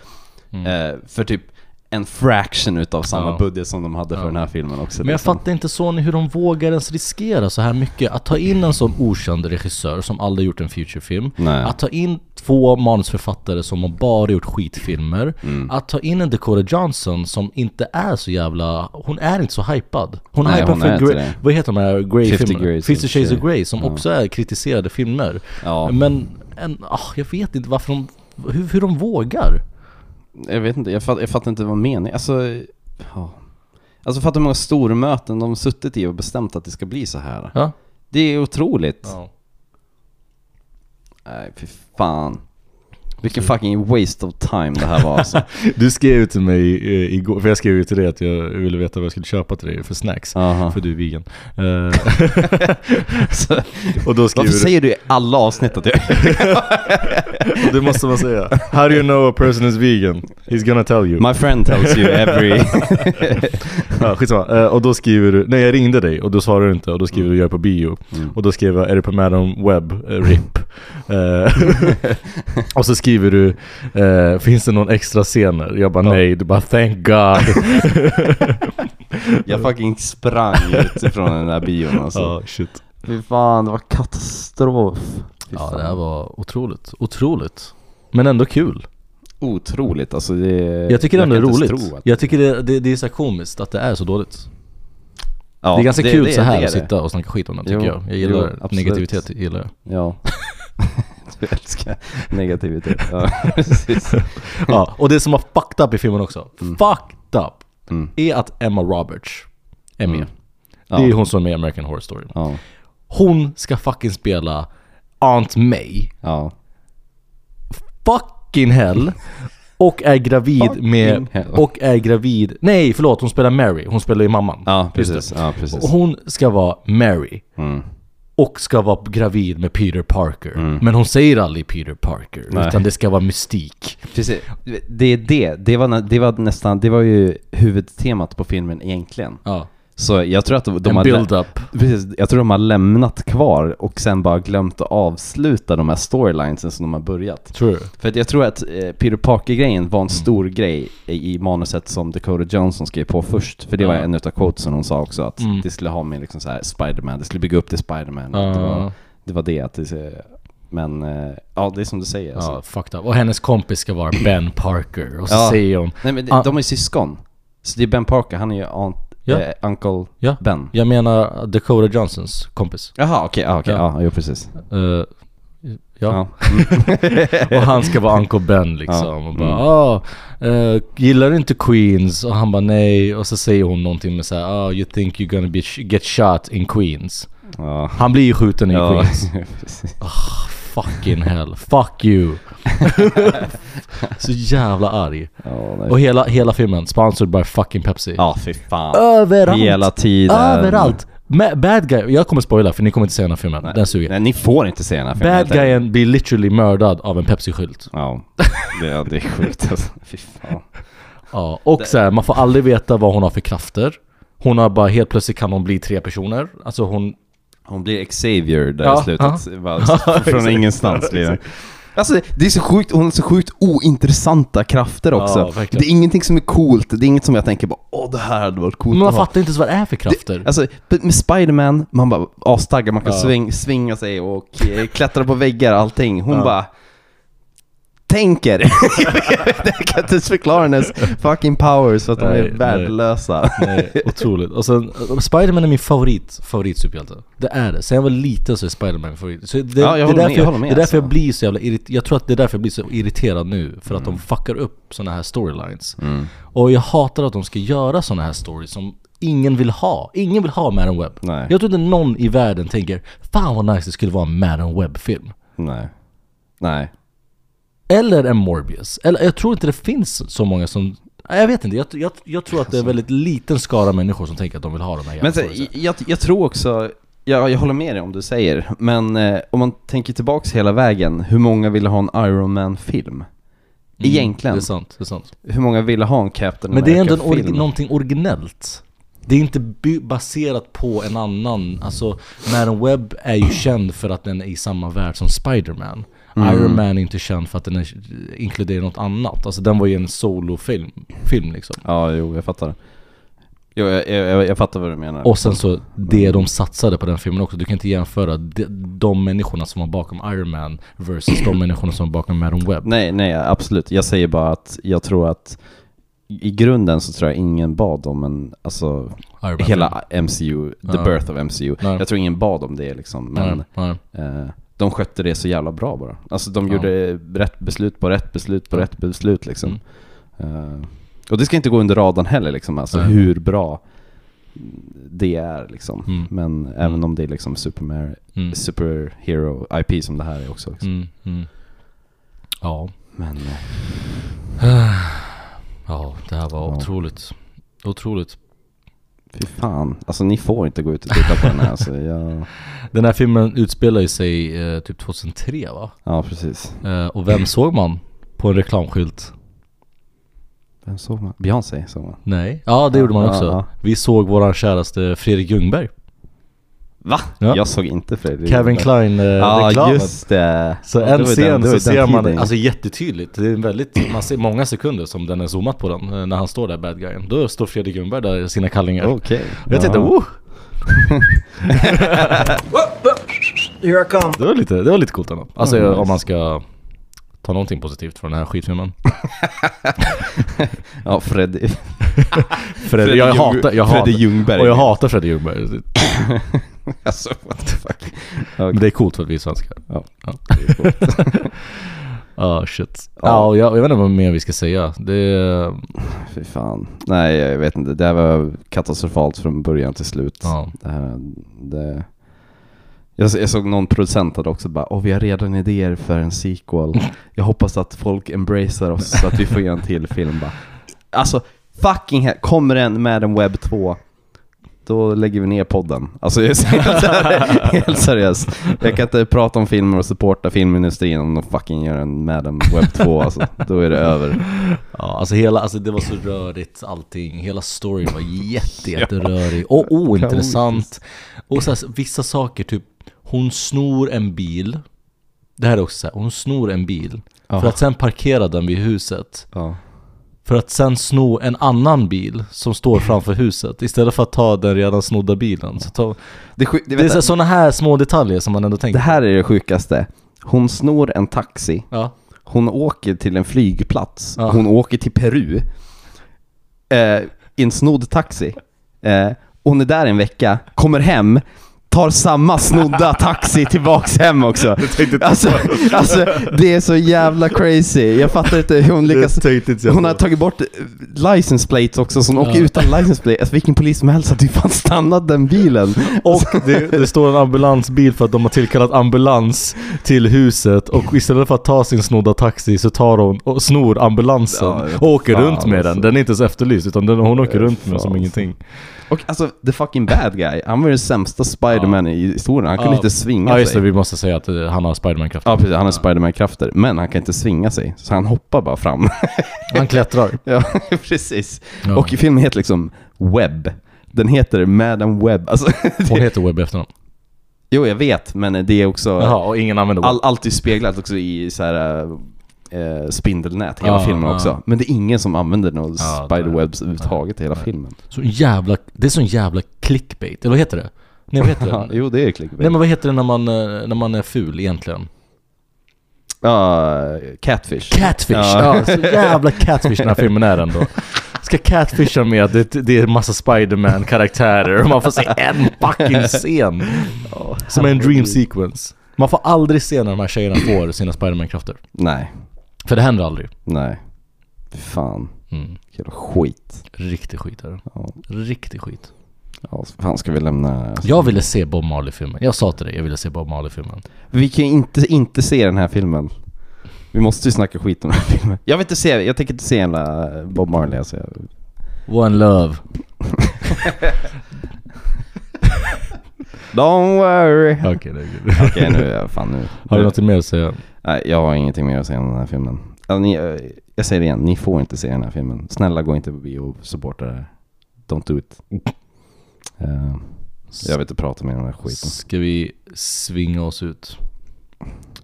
Speaker 1: Eh, för typ en fraction utav samma
Speaker 2: Ja.
Speaker 1: budget som de hade för den här filmen också.
Speaker 2: Men jag
Speaker 1: liksom.
Speaker 2: fattar inte Sony hur de vågar ens riskera så här mycket. Att ta in en sån okänd regissör som aldrig gjort en featurefilm.
Speaker 1: Nej.
Speaker 2: Att ta in två manusförfattare som har bara gjort skitfilmer.
Speaker 1: Mm.
Speaker 2: Att ta in en Dakota Johnson som inte är så jävla... Hon är inte så hypad. Hon är
Speaker 1: Nej,
Speaker 2: hypad
Speaker 1: hon är
Speaker 2: för
Speaker 1: inte
Speaker 2: Grey,
Speaker 1: det.
Speaker 2: vad heter de här Grey-filmerna?
Speaker 1: 50 Grays
Speaker 2: 50 Shades of
Speaker 1: of Grey.
Speaker 2: Grey som också är kritiserade filmer.
Speaker 1: Ja.
Speaker 2: Men en, ah, jag vet inte varför de... Hur, hur de vågar.
Speaker 1: Jag vet inte, jag, fatt, jag fattar inte vad meningen alltså, ja. alltså fattar hur många stormöten de suttit i och bestämt att det ska bli så här.
Speaker 2: Ja.
Speaker 1: Det är otroligt.
Speaker 2: Ja.
Speaker 1: Nej, fy fan. Vilken fucking waste of time det här var
Speaker 2: [LAUGHS]
Speaker 1: alltså.
Speaker 2: Du skrev ju till mig eh, igår, för jag skrev ju till dig att jag ville veta vad jag skulle köpa till dig för snacks.
Speaker 1: Aha.
Speaker 2: För du är vegan. Eh, [LAUGHS]
Speaker 1: Så,
Speaker 2: och då skriver
Speaker 1: varför
Speaker 2: du,
Speaker 1: säger du i alla avsnitt att jag...
Speaker 2: det måste man säga. How do you know a person is vegan? He's gonna tell you.
Speaker 1: My friend tells you every...
Speaker 2: [LAUGHS]
Speaker 1: [LAUGHS]
Speaker 2: Ja, skitsamma. Eh, och då skriver du, nej jag ringde dig och då svarade du inte och då skriver du
Speaker 1: Mm.
Speaker 2: jag är på bio. Och då skrev jag, är du på Madam Web? Eh, RIP. Eh, [LAUGHS] och så skriver du, eh, finns det någon extra scener? Jag bara nej, du bara thank God.
Speaker 1: jag fucking sprang ut från den där bion [LAUGHS] alltså.
Speaker 2: Ja, shit.
Speaker 1: Fy fan, det var katastrof. Fy
Speaker 2: Ja,
Speaker 1: fan.
Speaker 2: det här var otroligt. Otroligt. Men ändå kul.
Speaker 1: Otroligt alltså. Det...
Speaker 2: Jag tycker det ändå är
Speaker 1: kan inte ens
Speaker 2: roligt.
Speaker 1: tro att-
Speaker 2: Jag tycker det, det, det är så här komiskt att det är så dåligt.
Speaker 1: Ja,
Speaker 2: det är ganska kul
Speaker 1: det-
Speaker 2: så här
Speaker 1: det är
Speaker 2: att
Speaker 1: det.
Speaker 2: sitta och snacka skit om den tycker
Speaker 1: Jo,
Speaker 2: jag. Jag gillar
Speaker 1: jo, absolut.
Speaker 2: negativitet, gillar
Speaker 1: [LAUGHS]
Speaker 2: jag.
Speaker 1: Ja. du älskar negativitet. Ja, [LAUGHS]
Speaker 2: [LAUGHS]
Speaker 1: precis.
Speaker 2: Ja, och det som var fucked up i filmen också,
Speaker 1: Mm.
Speaker 2: fucked up, är att Emma Roberts är med. Det är hon som är med i American Horror Story.
Speaker 1: Mm. Ja.
Speaker 2: Hon ska fucking spela Aunt May,
Speaker 1: Ja.
Speaker 2: fucking hell, och är gravid
Speaker 1: Fucking
Speaker 2: med...
Speaker 1: hell.
Speaker 2: Och är gravid... Nej förlåt, hon spelar Mary. Hon spelar ju mamman.
Speaker 1: Ja,
Speaker 2: Just det.
Speaker 1: precis. Ja, precis. Mm.
Speaker 2: Och Hon ska vara Mary. Och ska vara gravid med Peter Parker. Men hon säger aldrig Peter Parker. Utan det ska vara mystik.
Speaker 1: Precis. Det är det. Det var, nä- det var nästan, det var ju huvudtemat på filmen egentligen.
Speaker 2: Ja.
Speaker 1: Så jag tror att de, de
Speaker 2: En
Speaker 1: har...
Speaker 2: build-up.
Speaker 1: Precis, jag tror de har lämnat kvar och sen bara glömt att avsluta de här storylinesen som de har börjat.
Speaker 2: Tror Mm. du?
Speaker 1: För att jag tror att eh, Peter Parker-grejen var en stor grej i, i manuset som Dakota Johnson skrev på först. För det var
Speaker 2: Ja. Mm.
Speaker 1: en utav quotesen hon sa också, att det skulle ha med liksom så här Spider-Man, det skulle bygga upp till Spider-Man.
Speaker 2: Ja.
Speaker 1: Att Det, var, det var det att det, eh, Men eh, ja, det är som du säger. Alltså.
Speaker 2: Ja, fucked up. Och hennes kompis
Speaker 1: [CLEARS THROAT]
Speaker 2: ska vara Ben Parker. Och så
Speaker 1: Ja.
Speaker 2: säger hon...
Speaker 1: Nej men det-
Speaker 2: Ah.
Speaker 1: de är ju syskon. Så det är Ben Parker, han är ju aunt,
Speaker 2: Ja.
Speaker 1: eh, Uncle
Speaker 2: Ja,
Speaker 1: Ben.
Speaker 2: jag menar Dakota Johnsons kompis.
Speaker 1: Jaha okej, ja okej,
Speaker 2: Ja.
Speaker 1: ja. jo precis.
Speaker 2: Eh, ja. [LAUGHS]
Speaker 1: Ja. Mm.
Speaker 2: Och han ska vara Uncle Ben liksom. Och bara, ah, eh, gillar du inte Queens? Och han bara nej. Och så säger hon någonting med såhär, ah, you think you're gonna be sh- get shot in Queens.
Speaker 1: ja.
Speaker 2: Han blir ju skjuten i
Speaker 1: ja.
Speaker 2: Queens.
Speaker 1: precis.
Speaker 2: Fucking hell. Fuck you. så jävla arg.
Speaker 1: [LAUGHS] Ja, nej.
Speaker 2: Och hela, hela filmen, sponsored by fucking Pepsi.
Speaker 1: ja fy fan.
Speaker 2: Överallt.
Speaker 1: Hela tiden.
Speaker 2: Överallt. Ma- bad guy. Jag kommer spoila för ni kommer inte se den här filmen. Den suger.
Speaker 1: Nej, ni får inte se den här filmen.
Speaker 2: Bad guyen blir literally mördad av en Pepsi-skylt.
Speaker 1: Ja, det, ja, det är sjukt alltså. Fy fan.
Speaker 2: Ja, och så här, man får aldrig veta vad hon har för krafter. Hon har bara helt plötsligt kan hon bli tre personer. Alltså hon...
Speaker 1: Hon blir Xavier där
Speaker 2: Ja,
Speaker 1: i slutet. Bara, s- [LAUGHS] från ingenstans blir
Speaker 2: [LAUGHS]
Speaker 1: det. Alltså det är så sjukt, hon har så sjukt ointressanta krafter också.
Speaker 2: verkligen.
Speaker 1: det är ingenting som är coolt, det är inget som jag tänker bara åh det här hade varit coolt
Speaker 2: Men man
Speaker 1: att ha.
Speaker 2: fattar inte ens vad det är för krafter.
Speaker 1: Alltså b- med Spiderman, man bara astaggad, man kan
Speaker 2: Ja.
Speaker 1: sving, svinga sig och eh, klättra på väggar allting. Hon bara tänker. [LAUGHS] jag kan inte ens förklara hennes fucking powers för att de
Speaker 2: Nej,
Speaker 1: är
Speaker 2: nej.
Speaker 1: värdelösa.
Speaker 2: Nej, otroligt. Och sen, eh, Spiderman är min favorit, favoritsuperhjälte. Det är det. Sen jag var liten så är Spiderman min favorit. Så det,
Speaker 1: jag
Speaker 2: det, är
Speaker 1: håller med,
Speaker 2: därför,
Speaker 1: jag håller med
Speaker 2: det är därför jag
Speaker 1: alltså.
Speaker 2: blir så jävla irriterad. Jag tror att det är därför jag blir så irriterad nu. För att
Speaker 1: Mm.
Speaker 2: de fuckar upp såna här storylines. Och jag hatar att de ska göra såna här stories som ingen vill ha. Ingen vill ha Madam Web.
Speaker 1: Nej.
Speaker 2: Jag tror inte någon i världen tänker Fan vad nice det skulle vara en Madam Web-film.
Speaker 1: [LAUGHS] Nej. Nej.
Speaker 2: Eller en Morbius. Eller, jag tror inte det finns så många som... Nej, Jag vet inte, jag, jag, jag tror att det är väldigt liten skara människor som tänker att de vill ha de här jävla
Speaker 1: Men så,
Speaker 2: storiesen.
Speaker 1: jag, jag tror också, jag, jag håller med dig om du säger, men eh, om man tänker tillbaks hela vägen, hur många ville ha en Iron Man-film? Egentligen.
Speaker 2: Mm, Det är sant, det är sant.
Speaker 1: Hur många ville ha en Captain
Speaker 2: Men det är ändå en
Speaker 1: America-film?
Speaker 2: orgi- någonting originellt. Det är inte by- baserat på en annan, alltså Madam Web är ju känd för att den är i samma värld som Spider-Man. Iron Man är inte känd för att den är, inkluderar något annat. Alltså den var ju en solofilm, film liksom.
Speaker 1: Ja, jo, jag fattar. Jo, jag, jag, jag, jag fattar vad du menar.
Speaker 2: Och sen så, det de satsade på den filmen också, du kan inte jämföra de, de människorna som var bakom Iron Man versus de människorna som var bakom Madam Web.
Speaker 1: Nej, nej, absolut. Jag säger bara att jag tror att i grunden så tror jag ingen bad om en, alltså
Speaker 2: Iron Man.
Speaker 1: hela MCU, the
Speaker 2: Ja.
Speaker 1: birth of MCU.
Speaker 2: Nej.
Speaker 1: Jag tror ingen bad om det liksom, men
Speaker 2: Nej, nej.
Speaker 1: Eh, de skötte det så jävla bra bara. Alltså de
Speaker 2: Ja.
Speaker 1: gjorde rätt beslut på rätt beslut på rätt beslut liksom. Eh, och det ska inte gå under radarn heller liksom, alltså
Speaker 2: Mm. Nej.
Speaker 1: hur bra det är liksom.
Speaker 2: Mm.
Speaker 1: Men även om det är liksom supermer-
Speaker 2: Mm.
Speaker 1: superhero IP som det här är också. Liksom.
Speaker 2: Mm, mm. Ja.
Speaker 1: Men eh,
Speaker 2: Ja, det här var
Speaker 1: Ja.
Speaker 2: otroligt. Otroligt.
Speaker 1: fy fan, alltså ni får inte gå ut och titta på den här. Alltså, jag...
Speaker 2: Den här filmen utspelar ju sig eh, typ 2003 va?
Speaker 1: Ja precis.
Speaker 2: Eh, och vem såg man på en reklamskylt?
Speaker 1: Vem såg man? Beyoncé såg man.
Speaker 2: Nej. Ja, det gjorde man
Speaker 1: Ja,
Speaker 2: också.
Speaker 1: ja.
Speaker 2: Vi såg våran käraste Fredrik Ljungberg.
Speaker 1: Va?
Speaker 2: Ja.
Speaker 1: Jag såg inte Fredrik.
Speaker 2: Kevin Klein-reklamen.
Speaker 1: Ja just det.
Speaker 2: Så
Speaker 1: Ja, det
Speaker 2: en
Speaker 1: var ju
Speaker 2: scen
Speaker 1: den- det var
Speaker 2: så
Speaker 1: ju den
Speaker 2: ser man,
Speaker 1: tiden.
Speaker 2: alltså jättetydligt, det är en väldigt, [CLEARS THROAT] man ser många sekunder som den är zoomat på den, eh, när han står där bad guyen. Då står Fredrik Ljungberg där i sina kallingar.
Speaker 1: Okej.
Speaker 2: Jag tänkte,
Speaker 1: Ja.
Speaker 2: oh,
Speaker 8: [LAUGHS] Here I come.
Speaker 2: det var lite, det var lite coolt ändå. Alltså
Speaker 1: Mm, nice.
Speaker 2: om man ska ta någonting positivt från den här [LAUGHS] skitfilmen.
Speaker 1: Ja, Freddy.
Speaker 2: Fred,
Speaker 1: Fredrik
Speaker 2: jag
Speaker 1: Ljung-
Speaker 2: hatar, jag
Speaker 1: Fredrik
Speaker 2: hatar,
Speaker 1: Ljungberg.
Speaker 2: Och jag hatar Fredrik Ljungberg.
Speaker 1: [LAUGHS] alltså, what the fuck. Okay.
Speaker 2: Men det är coolt för att vi är svenskar.
Speaker 1: Ja.
Speaker 2: Ja, [LAUGHS] Ah, shit. Ja, och jag, jag vet inte vad mer vi ska säga. Det är,
Speaker 1: Fy fan. Nej, jag vet inte. Det här var katastrofalt från början till slut.
Speaker 2: ja.
Speaker 1: Det här, det... Jag, jag såg någon producent hade också bara Åh, vi har redan idéer för en
Speaker 2: [LAUGHS]
Speaker 1: sequel. Jag hoppas att folk embracear oss så att vi får göra en till film bara. Alltså, fucking hell. Kommer den med en webb 2? Då lägger vi ner podden. Alltså jag är helt,
Speaker 2: [LAUGHS]
Speaker 1: seriös, helt seriös. Jag kan inte prata om filmer och supporta filmindustrin om de fucking gör en Madam Web 2 alltså. Då är det över.
Speaker 2: Ja, alltså hela, alltså det var så rörigt allting. Hela storyn var jätte, jätterörig och ointressant. Och så här, vissa saker, typ hon snor en bil. Det här är också så här, hon snor en bil. För att sen parkera den vid huset.
Speaker 1: Ja.
Speaker 2: För att sen sno en annan bil som står framför huset. Istället för att ta den redan snodda bilen. Så ta,
Speaker 1: Det, sjuk- det,
Speaker 2: det är
Speaker 1: vänta,
Speaker 2: sådana här små detaljer som man ändå tänker
Speaker 1: det här är det sjukaste. Hon snor en taxi.
Speaker 2: Ja.
Speaker 1: Hon åker till en flygplats.
Speaker 2: Ja.
Speaker 1: Hon åker till Peru. Eh, I en snodd taxi. Eh, hon är där en vecka, kommer hem, tar samma
Speaker 2: [LAUGHS]
Speaker 1: snodda taxi tillbaks hem också. Alltså, alltså, det är så jävla crazy. Jag fattar inte hur hon lyckas.
Speaker 9: tänkte inte jag
Speaker 1: Hon har
Speaker 9: på.
Speaker 1: tagit bort eh, license plates också, så hon åker
Speaker 2: Ja.
Speaker 1: utan license plate. Alltså, vilken polis som helst hade ju fan stannat den
Speaker 2: [LAUGHS]
Speaker 1: bilen.
Speaker 2: Och det, det står en ambulansbil för att de har tillkallat ambulans till huset och istället för att ta sin snodda taxi så tar hon och snor ambulansen
Speaker 1: Ja, jag vet
Speaker 2: och åker
Speaker 1: fan
Speaker 2: runt med den.
Speaker 1: alltså.
Speaker 2: Den är inte ens efterlyst utan den, hon åker runt med den som
Speaker 1: Fan.
Speaker 2: ingenting.
Speaker 1: Och alltså, the fucking bad guy, han var ju den sämsta Spiderman i historien. Han kunde inte svinga
Speaker 2: Ja
Speaker 1: sig.
Speaker 2: just det, vi måste säga att eh, han har Spiderman-krafter.
Speaker 1: Ja precis, han har Spiderman-krafter, men han kan inte svinga sig. Så han hoppar bara fram. [LAUGHS]
Speaker 2: Han klättrar.
Speaker 1: ja, [LAUGHS] precis.
Speaker 2: Ja.
Speaker 1: Och filmen heter liksom Webb. Den heter Madam Webb. Alltså, [LAUGHS]
Speaker 2: Hon
Speaker 1: det,
Speaker 2: heter Webb efter honom.
Speaker 1: jo, jag vet, men det är också...
Speaker 2: Jaha, och ingen använder Webb.
Speaker 1: All, allt är speglat också i så här, eh, spindelnät, hela
Speaker 2: Ja,
Speaker 1: filmen
Speaker 2: ja.
Speaker 1: också. Men det är ingen som använder några
Speaker 2: Ja,
Speaker 1: spiderwebs överhuvudtaget i hela filmen.
Speaker 2: Så jävla, det är sån jävla clickbait, eller vad heter det? Nej vad heter
Speaker 1: [LAUGHS]
Speaker 2: det?
Speaker 1: Ja, jo, det är klickbait.
Speaker 2: Nej men vad heter det när man, eh, när man är ful egentligen?
Speaker 1: Ja, catfish.
Speaker 2: Catfish! Ja.
Speaker 1: Ja.
Speaker 2: så jävla catfish den här filmen är ändå. Ska catfisha med att det, det är en massa Spiderman-karaktärer och man får se en fucking scen. Som är en dream sequence. Man får aldrig se när de här tjejerna får sina Spiderman-krafter.
Speaker 1: Nej,
Speaker 2: För det händer aldrig.
Speaker 1: nej. Fy Fan.
Speaker 2: Mm.
Speaker 1: Jävla skit.
Speaker 2: Riktig skit är det.
Speaker 1: Ja.
Speaker 2: Riktig skit.
Speaker 1: Ja, fan ska vi lämna...
Speaker 2: Jag ville se Bob Marley-filmen. Jag sa till dig, jag ville se Bob Marley-filmen.
Speaker 1: Vi kan ju inte, inte se den här filmen. Vi måste ju snacka skit om den här filmen. Jag vill inte se, jag tänker inte se hela Bob Marley alltså. Jag-
Speaker 2: One Love.
Speaker 1: Don't worry. Okej
Speaker 2: Okej, det är good.
Speaker 1: nu, är jag- fan nu.
Speaker 2: Har du något mer att säga?
Speaker 1: Nej, jag har ingenting mer att säga om den här filmen. Alltså, ni, eh, jag säger det igen, ni får inte se den här filmen. Snälla gå inte på bio och supporta det här. Don't do it.
Speaker 2: Mm.
Speaker 1: Eh, jag vill inte prata mer om den här skiten.
Speaker 2: Ska vi svinga oss ut?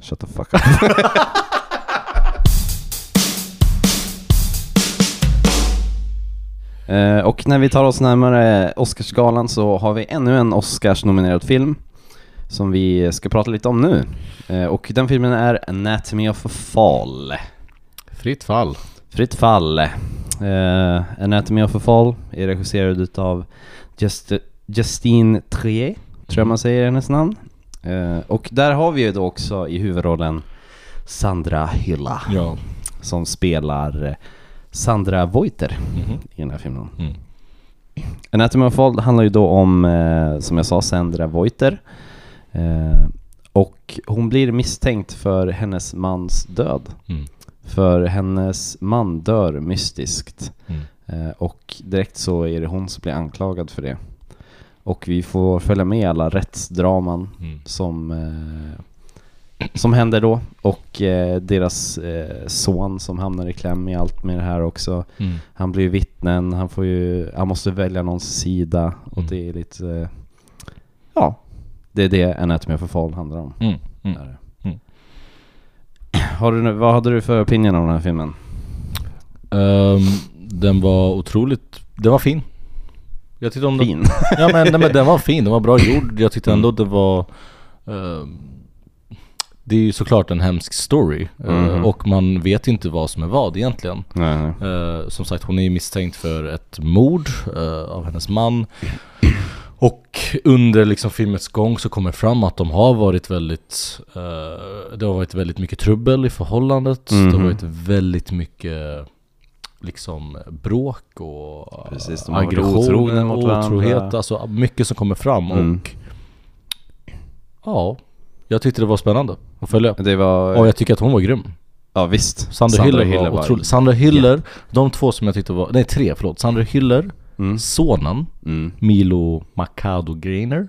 Speaker 1: Shut the fuck up. [LAUGHS] Eh, och när vi tar oss närmare Oscarsgalan så har vi ännu en Oscars-nominerad film som vi ska prata lite om nu. Eh, och den filmen är Anatomy of a Fall.
Speaker 2: Fritt fall.
Speaker 1: Fritt fall. Uh, Anatomy of a Fall är regisserad utav Just, Justine Trier, tror
Speaker 2: Mm.
Speaker 1: jag man säger hennes namn. Eh, och där har vi ju då också i huvudrollen Sandra Hylla
Speaker 2: Ja.
Speaker 1: som spelar eh, Sandra Voiter
Speaker 2: Mhm.
Speaker 1: i den här filmen.
Speaker 2: Mm.
Speaker 1: Anatomy of a Fall handlar ju då om, eh, som jag sa, Sandra Voiter. Eh, och hon blir misstänkt för hennes mans död.
Speaker 2: Mm.
Speaker 1: För hennes man dör mystiskt.
Speaker 2: Mm.
Speaker 1: Eh, och direkt så är det hon som blir anklagad för det. Och vi får följa med alla rättsdraman
Speaker 2: Mm.
Speaker 1: som, eh, som händer då. Och eh, deras eh, son som hamnar i kläm i allt med det här också.
Speaker 2: Mm.
Speaker 1: Han blir ju vittnen, han, får ju, han måste välja någons sida. Och
Speaker 2: Mm.
Speaker 1: det är lite... Eh, ja, det är det Anatomy of a Fall handlar om.
Speaker 2: Mm. Mm.
Speaker 1: Är det.
Speaker 2: Mm.
Speaker 1: Har du, vad hade du för opinion om den här filmen?
Speaker 2: Ehm, den var otroligt, den var fin. Jag tyckte om den.
Speaker 1: Fin. [LAUGHS]
Speaker 2: Ja men, nej, men den var fin, den var bra gjord. Jag tyckte ändå att det var... ehm, det är ju såklart en hemsk story. eh,
Speaker 1: Mhm.
Speaker 2: Och man vet inte vad som är vad egentligen.
Speaker 1: nej, nej.
Speaker 2: Eh, som sagt, hon är ju misstänkt för ett mord eh, av
Speaker 1: [CLEARS THROAT]
Speaker 2: hennes man. Och under liksom filmets gång så kommer det fram att de har varit väldigt, eh, det har varit väldigt mycket trubbel i förhållandet. Det
Speaker 1: Mhm.
Speaker 2: har varit väldigt mycket liksom bråk och
Speaker 1: Precis, de har varit otrogna
Speaker 2: aggression,
Speaker 1: mot varandra.
Speaker 2: otrohet. Alltså mycket som kommer fram
Speaker 1: Mm.
Speaker 2: och ja, jag tyckte det var spännande att följa.
Speaker 1: Det var...
Speaker 2: Och jag tycker att hon var grym.
Speaker 1: Ja visst.
Speaker 2: Sandra, Hüller var
Speaker 1: var-
Speaker 2: otrolig. Sandra Hüller, de två som jag tyckte var, nej tre förlåt. Sandra Hüller, sonen,
Speaker 1: Mm.
Speaker 2: Milo Macado Greiner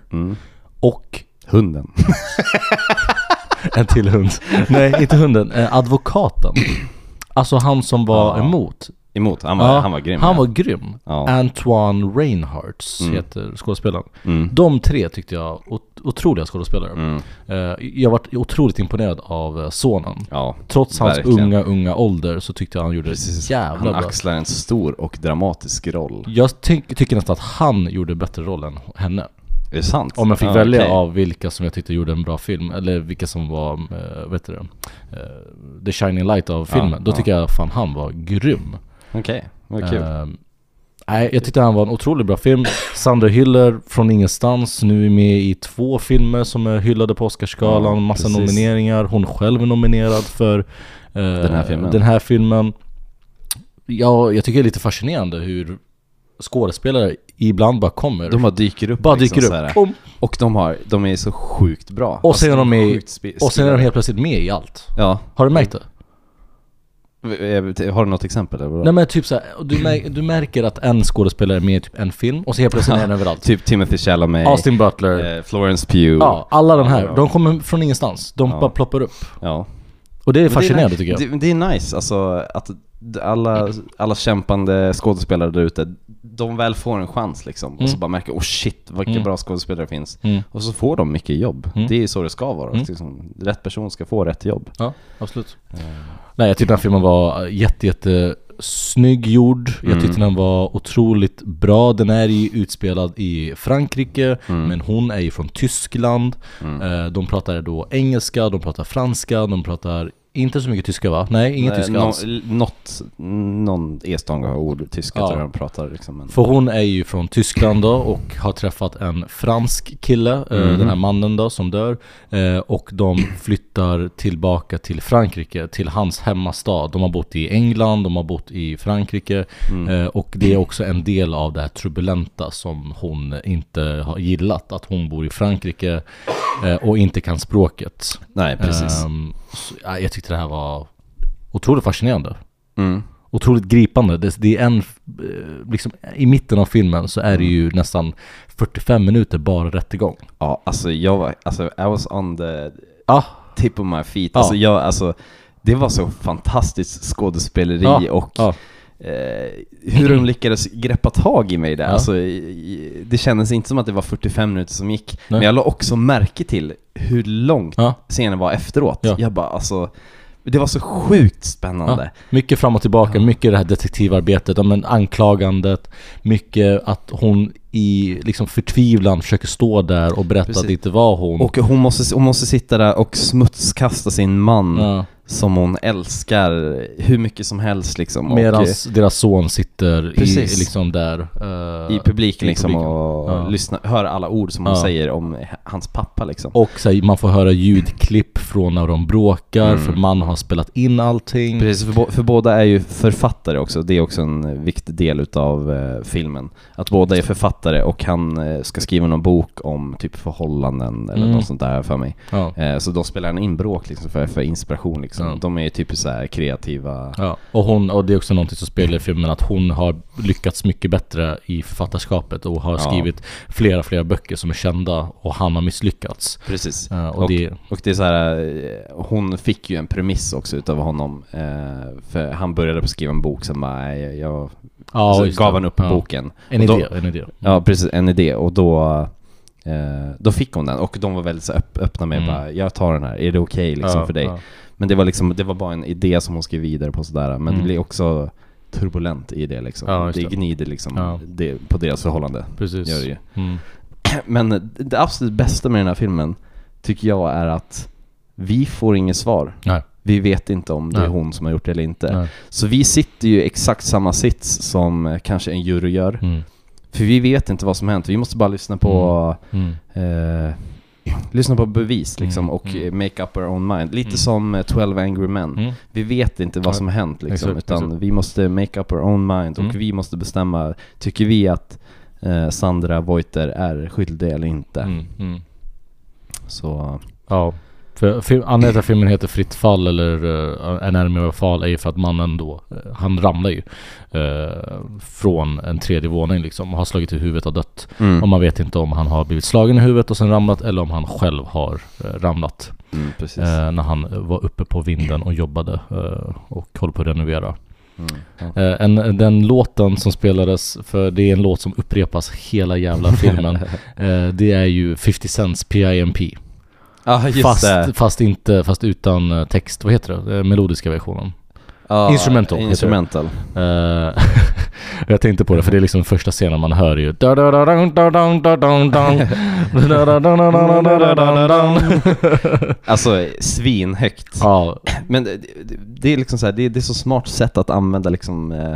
Speaker 2: och
Speaker 1: Hunden. [LAUGHS]
Speaker 2: en till hund. nej, inte hunden, eh, advokaten. Alltså han som var emot.
Speaker 1: Emot, han var,
Speaker 2: Ja,
Speaker 1: han var grym.
Speaker 2: Han
Speaker 1: ja.
Speaker 2: var grym.
Speaker 1: Ja. Mm.
Speaker 2: Antoine Reinhardt heter skådespelaren. De tre tyckte jag, ot- otroliga skådespelare.
Speaker 1: Mm.
Speaker 2: Eh, jag varit otroligt imponerad av eh, sonen.
Speaker 1: Ja,
Speaker 2: Trots hans
Speaker 1: verkligen.
Speaker 2: unga, unga ålder så tyckte jag han gjorde det jävla
Speaker 1: Han
Speaker 2: bra.
Speaker 1: axlar en stor och dramatisk roll.
Speaker 2: Jag ty- tycker nästan att han gjorde bättre roll än henne.
Speaker 1: Är det sant?
Speaker 2: Om jag fick
Speaker 1: Ja,
Speaker 2: välja
Speaker 1: okej.
Speaker 2: av vilka som jag tyckte gjorde en bra film, eller vilka som var, eh, vet du det, eh, The Shining Light av filmen, då
Speaker 1: ja.
Speaker 2: tycker jag fan han var grym.
Speaker 1: Okej, vad kul.
Speaker 2: Eh, nej, jag tyckte han var en otroligt bra film. Sandra Hüller från ingenstans, nu är med i två filmer som är hyllade på Oscarsgalan,
Speaker 1: Ja,
Speaker 2: massa
Speaker 1: precis.
Speaker 2: nomineringar, hon själv är nominerad för eh, den,
Speaker 1: här filmen.
Speaker 2: den här filmen. Ja, jag tycker det är lite fascinerande hur skådespelare ibland bara kommer.
Speaker 1: De bara dyker upp.
Speaker 2: bara
Speaker 1: liksom
Speaker 2: dyker
Speaker 1: så här.
Speaker 2: upp. Om,
Speaker 1: Och de, har, de är så sjukt bra.
Speaker 2: Och sen, är de
Speaker 1: är
Speaker 2: med,
Speaker 1: sjukt spe-
Speaker 2: och sen är de
Speaker 1: skillade.
Speaker 2: helt plötsligt med i allt.
Speaker 1: Ja.
Speaker 2: Har du märkt det?
Speaker 1: Eh, Har du något exempel? Eller vadå?
Speaker 2: Nej men typ såhär, du, mär,
Speaker 1: Mm.
Speaker 2: du märker att en skådespelare är med i typ en film och så helt plötsligt är han överallt.
Speaker 1: Typ Timothy Chalamet,
Speaker 2: Austin Butler.
Speaker 1: eh, Florence Pugh.
Speaker 2: Ja, alla de här. De kommer från ingenstans. De bara ploppar upp.
Speaker 1: Ja.
Speaker 2: Och det är
Speaker 1: Men
Speaker 2: fascinerande
Speaker 1: det är,
Speaker 2: tycker
Speaker 1: Det,
Speaker 2: jag.
Speaker 1: det är nice, alltså att d- alla, alla kämpande skådespelare där ute, de väl får en chans liksom. Och
Speaker 2: Mm.
Speaker 1: så bara märker, oh shit vilka bra skådespelare det finns. Och så får de mycket jobb.
Speaker 2: Mm.
Speaker 1: Det är ju så det ska vara. Liksom, rätt person ska få rätt jobb.
Speaker 2: Ja, absolut. Eh, Nej, jag tyckte den här filmen var jätte, jätte snygg gjord. Jag tyckte den var otroligt bra. Den är ju utspelad i Frankrike, men hon är ju från Tyskland. Eh, De pratar då engelska, de pratar franska, de pratar inte så mycket tyska va? Nej, inget
Speaker 1: Eh,
Speaker 2: tyska
Speaker 1: nå-
Speaker 2: alls.
Speaker 1: l- Något, någon enstånga ord tyska
Speaker 2: Ja.
Speaker 1: tror jag de pratar liksom. Men,
Speaker 2: För hon är ju från Tyskland då och har träffat en fransk kille, eh, den här mannen då som dör. Eh, och de flyttar tillbaka till Frankrike, till hans hemmastad. De har bott i England, de har bott i Frankrike. Eh, och det är också en del av det här turbulenta som hon inte har gillat. Att hon bor i Frankrike eh, och inte kan språket.
Speaker 1: nej, precis.
Speaker 2: Ehm, så, ja, jag tyckte det här var otroligt fascinerande.
Speaker 1: Mm.
Speaker 2: Otroligt gripande. Det, det är en, eh, liksom, I mitten av filmen så
Speaker 1: Mm.
Speaker 2: är det ju nästan 45 minuter bara rättegång.
Speaker 1: Ja, alltså jag var, alltså I was on the
Speaker 2: Ah,
Speaker 1: tip of my feet.
Speaker 2: Ja.
Speaker 1: Alltså jag, alltså det var så fantastiskt skådespeleri
Speaker 2: Ja,
Speaker 1: och
Speaker 2: ja.
Speaker 1: eh, hur de lyckades greppa tag i mig där.
Speaker 2: Ja.
Speaker 1: Alltså, i- i- det kändes inte som att det var 45 minuter som gick, men
Speaker 2: Nej.
Speaker 1: jag la också märke till hur långt
Speaker 2: Ja.
Speaker 1: scenen var efteråt.
Speaker 2: Ja.
Speaker 1: Jag bara alltså, det var så sjukt spännande.
Speaker 2: ja. Mycket fram och tillbaka, mycket det här detektivarbetet, ja, men anklagandet, mycket att hon i liksom, förtvivlan försöker stå där och berätta
Speaker 1: Precis.
Speaker 2: att det inte var hon.
Speaker 1: Och hon måste, hon måste sitta där och smutskasta sin man
Speaker 2: Ja.
Speaker 1: som hon älskar hur mycket som helst liksom. Och,
Speaker 2: Medan
Speaker 1: eh,
Speaker 2: deras son sitter i,
Speaker 1: Precis.
Speaker 2: liksom där. eh,
Speaker 1: i publiken liksom
Speaker 2: publiken.
Speaker 1: och
Speaker 2: Ja.
Speaker 1: lyssna, höra alla ord som hon
Speaker 2: Ja.
Speaker 1: säger om h- hans pappa liksom.
Speaker 2: Och så här, man får höra ljudklipp från när de bråkar, för man har spelat in allting.
Speaker 1: Mm. Precis, för, bo- för båda är ju författare också, det är också en eh, viktig del utav eh, filmen. Att båda är författare och han eh, ska skriva någon bok om typ förhållanden eller något sånt där för mig.
Speaker 2: Mm. Ja.
Speaker 1: Eh, så de spelar en inbråk liksom för, för inspiration liksom.
Speaker 2: Ja.
Speaker 1: De är ju typiskt så här kreativa.
Speaker 2: Ja. Och, hon, och det är också någonting som spelar i filmen, att hon har lyckats mycket bättre i författarskapet och har
Speaker 1: Ja.
Speaker 2: skrivit flera, flera böcker som är kända och han har misslyckats.
Speaker 1: Precis.
Speaker 2: Ja, och
Speaker 1: och, och, det...
Speaker 2: det-
Speaker 1: är så här, eh, hon fick ju en premiss också utav honom. Eh, för han började på att skriva en bok, sen bara, "Nej, jag
Speaker 2: Ja,
Speaker 1: så
Speaker 2: just
Speaker 1: gav
Speaker 2: det.
Speaker 1: han upp
Speaker 2: Ja.
Speaker 1: boken.
Speaker 2: En
Speaker 1: Och då,
Speaker 2: idé, en idé.
Speaker 1: Ja, precis. En idé. Och då, eh, då fick hon den. Och de var väldigt så öpp, öppna med
Speaker 2: Mm.
Speaker 1: bara, jag tar den här, är det okej liksom,
Speaker 2: Ja,
Speaker 1: för dig?
Speaker 2: ja.
Speaker 1: Men det var, liksom, det var bara en idé som hon skrev vidare på sådär. Men det blev också turbulent i det liksom.
Speaker 2: Mm. Ja, just
Speaker 1: det
Speaker 2: det.
Speaker 1: gnider liksom
Speaker 2: Ja.
Speaker 1: det, på deras förhållande. [CLEARS THROAT]
Speaker 2: Precis.
Speaker 1: Gör det ju.
Speaker 2: Mm.
Speaker 1: Men det absolut bästa med den här filmen tycker jag är att vi får inget svar.
Speaker 2: Nej.
Speaker 1: Vi vet inte om det är
Speaker 2: Nej.
Speaker 1: hon som har gjort det eller inte.
Speaker 2: Nej.
Speaker 1: Så vi sitter ju i exakt samma sits som eh, kanske en jury gör.
Speaker 2: Mm.
Speaker 1: För vi vet inte vad som hänt. Vi måste bara lyssna på,
Speaker 2: Mm.
Speaker 1: eh, lyssna på bevis liksom,
Speaker 2: Mm,
Speaker 1: och eh, make up our own mind. Lite som eh, 12 Angry Men.
Speaker 2: Mm.
Speaker 1: Vi vet inte vad som hänt liksom,
Speaker 2: Exakt,
Speaker 1: utan
Speaker 2: exakt.
Speaker 1: vi måste make up our own mind och
Speaker 2: Mm.
Speaker 1: vi måste bestämma, tycker vi att eh, Sandra Voiter är skyldig eller inte?
Speaker 2: Mm. Mm.
Speaker 1: Så,
Speaker 2: Ja. För film, anledningen till att filmen heter Fritt fall eller uh, En armé av fall är ju för att mannen då, eh, han ramlar ju eh, från en tredje våning liksom och har slagit i huvudet och dött. Och man vet inte om han har blivit slagen i huvudet och sen ramlat eller om han själv har eh, ramlat
Speaker 1: mm, precis.
Speaker 2: eh, när han var uppe på vinden och jobbade eh, och höll på att renovera. Eh, en, den låten som spelades, för det är en låt som upprepas hela jävla filmen, eh, det är ju 50 Cents PIMP.
Speaker 1: ah, just
Speaker 2: Fast,
Speaker 1: det.
Speaker 2: fast inte, fast utan eh, text, vad heter det? Eh, Melodiska versionen.
Speaker 1: Ja,
Speaker 2: Instrumental heter det.
Speaker 1: Instrumental.
Speaker 2: Eh, [LAUGHS] jag tänkte på det, för det är liksom första scenen man hör ju.
Speaker 1: [LAUGHS] Alltså svinhögt.
Speaker 2: Ja,
Speaker 1: Men det, det- det är liksom så här, det, det är så smart sätt att använda liksom eh,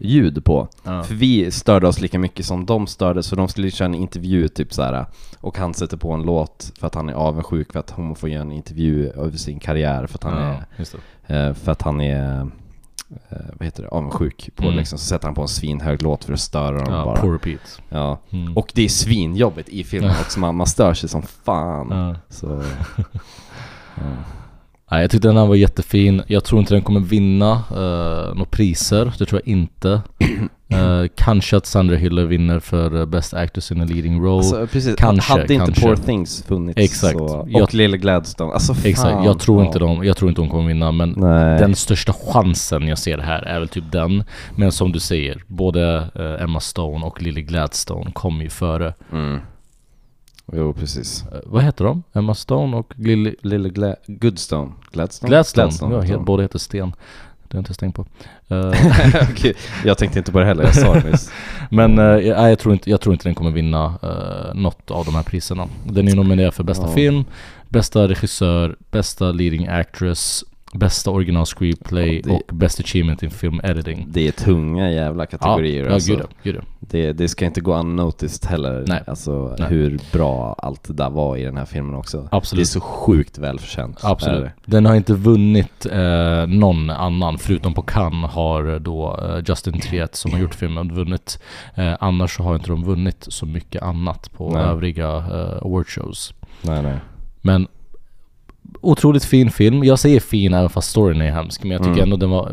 Speaker 1: ljud på. För vi störde oss lika mycket som de störde så de skulle köra en intervju typ så här och han sätter på en låt för att han är avundsjuk för att hon får göra en intervju över sin karriär för att han
Speaker 2: ja, just det.
Speaker 1: är, eh, för att han är eh, vad heter det, avundsjuk på
Speaker 2: Mm.
Speaker 1: liksom, så sätter han på en svinhög låt för att störa dem
Speaker 2: Ja,
Speaker 1: bara.
Speaker 2: poor repeat.
Speaker 1: Ja.
Speaker 2: Mm.
Speaker 1: Och det är svinjobbigt i
Speaker 2: [LAUGHS]
Speaker 1: filmen också, man, man stör sig som fan.
Speaker 2: Ja.
Speaker 1: Så,
Speaker 2: Nej, jag tyckte den här var jättefin. Jag tror inte den kommer vinna eh, några priser. Det tror jag inte.
Speaker 1: [CLEARS THROAT]
Speaker 2: Eh, kanske att Sandra Hiller vinner för eh, Best Actress in a Leading Role.
Speaker 1: alltså, precis,
Speaker 2: kanske,
Speaker 1: hade inte
Speaker 2: kanske.
Speaker 1: Poor Things funnits
Speaker 2: Exakt.
Speaker 1: så, och
Speaker 2: Jag-
Speaker 1: Lille Gladstone, alltså fan.
Speaker 2: Exakt, jag tror, inte
Speaker 1: Ja.
Speaker 2: de, jag tror inte hon kommer vinna men
Speaker 1: Nej.
Speaker 2: den största chansen jag ser här är väl typ den. Men som du säger, både eh, Emma Stone och Lily Gladstone kommer ju före.
Speaker 1: Jo, precis.
Speaker 2: Eh, vad heter de? Emma Stone och Lily
Speaker 1: Lille Gla- Goodstone, Gladstone?
Speaker 2: Gladstone? ja,
Speaker 1: heter
Speaker 2: he-
Speaker 1: de.
Speaker 2: båda heter Sten. Det har jag inte stängt på. Eh,
Speaker 1: [LAUGHS]
Speaker 2: [LAUGHS]
Speaker 1: Okej, jag tänkte inte på det heller, jag sa det nyss.
Speaker 2: men eh, jag, nej, jag, tror inte, jag tror inte den kommer vinna eh, något av de här priserna. Den är nominerad för bästa film, bästa regissör, bästa leading actress, bästa original screenplay
Speaker 1: Ja, det-
Speaker 2: och best achievement in film editing.
Speaker 1: Det är tunga jävla kategorier.
Speaker 2: ja,
Speaker 1: alltså.
Speaker 2: gud, ja, gud ja.
Speaker 1: det, det ska inte gå unnoticed heller,
Speaker 2: Nej.
Speaker 1: alltså
Speaker 2: Nej.
Speaker 1: hur bra allt det där var i den här filmen också.
Speaker 2: Absolut.
Speaker 1: Det är så sjukt välförtjänt. är
Speaker 2: Absolut.
Speaker 1: det.
Speaker 2: Den har inte vunnit eh, någon annan, förutom på Cannes har då eh, Justin Triet som har gjort filmen vunnit. Eh, annars så har inte de vunnit så mycket annat på
Speaker 1: Nej.
Speaker 2: övriga eh, awardshows.
Speaker 1: Nej, nej.
Speaker 2: Men otroligt fin film. Jag säger fin även fast storyn är hemsk, men jag tycker
Speaker 1: Mm.
Speaker 2: ändå den var,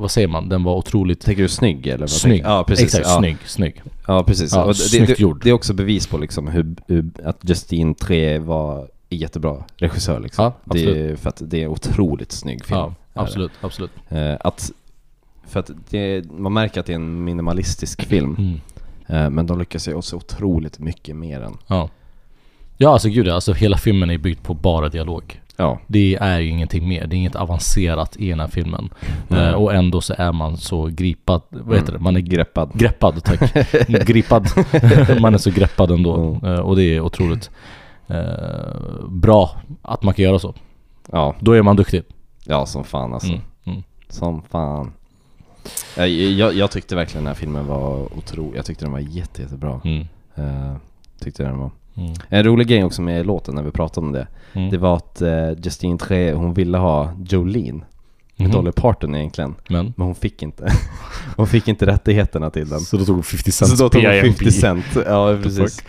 Speaker 2: vad säger man, den var otroligt
Speaker 1: Tänker du snygg eller? Vad
Speaker 2: snygg.
Speaker 1: tänker- Ja, precis.
Speaker 2: Exakt,
Speaker 1: ja.
Speaker 2: snygg, snygg.
Speaker 1: Ja, precis.
Speaker 2: Ja,
Speaker 1: och det,
Speaker 2: snyggt
Speaker 1: det, det,
Speaker 2: gjord.
Speaker 1: det är också bevis på liksom hur, hur, att Justine Tre var jättebra regissör. Liksom.
Speaker 2: Ja, absolut.
Speaker 1: det är, för att det är en otroligt snygg film.
Speaker 2: Ja, absolut, absolut.
Speaker 1: Eh, att, för att det, man märker att det är en minimalistisk film,
Speaker 2: Mm.
Speaker 1: eh, men de lyckas ju också otroligt mycket mer än...
Speaker 2: Ja. Ja, alltså gud, alltså hela filmen är byggd på bara dialog.
Speaker 1: Ja,
Speaker 2: Det är ju ingenting mer, det är inget avancerat i den här filmen. Eh, och ändå så är man så gripad, vad heter det?
Speaker 1: Mm.
Speaker 2: Man är grepp,
Speaker 1: greppad. [LAUGHS]
Speaker 2: greppad, tack. gripad. [LAUGHS] man är så greppad ändå.
Speaker 1: Mm.
Speaker 2: Eh, och det är otroligt eh, bra att man kan göra så.
Speaker 1: Ja,
Speaker 2: Då är man duktig.
Speaker 1: ja, som fan alltså.
Speaker 2: Mm. Mm.
Speaker 1: Som fan. Eh, Jag, jag, jag tyckte verkligen den här filmen var otrolig. Jag tyckte den var jätte, jättebra.
Speaker 2: Mm.
Speaker 1: Eh, tyckte jag den var.
Speaker 2: Mm.
Speaker 1: En rolig grej också med låten när vi pratade om det.
Speaker 2: Mm.
Speaker 1: Det var att eh, Justine Tre, hon ville ha Jolene.
Speaker 2: Mhm.
Speaker 1: Dolly Parton egentligen.
Speaker 2: Men.
Speaker 1: Men hon fick inte. [LAUGHS] hon fick inte rättigheterna till den.
Speaker 2: Så då tog 50
Speaker 1: Så då tog hon
Speaker 2: PIMP.
Speaker 1: 50 cent. Ja, precis.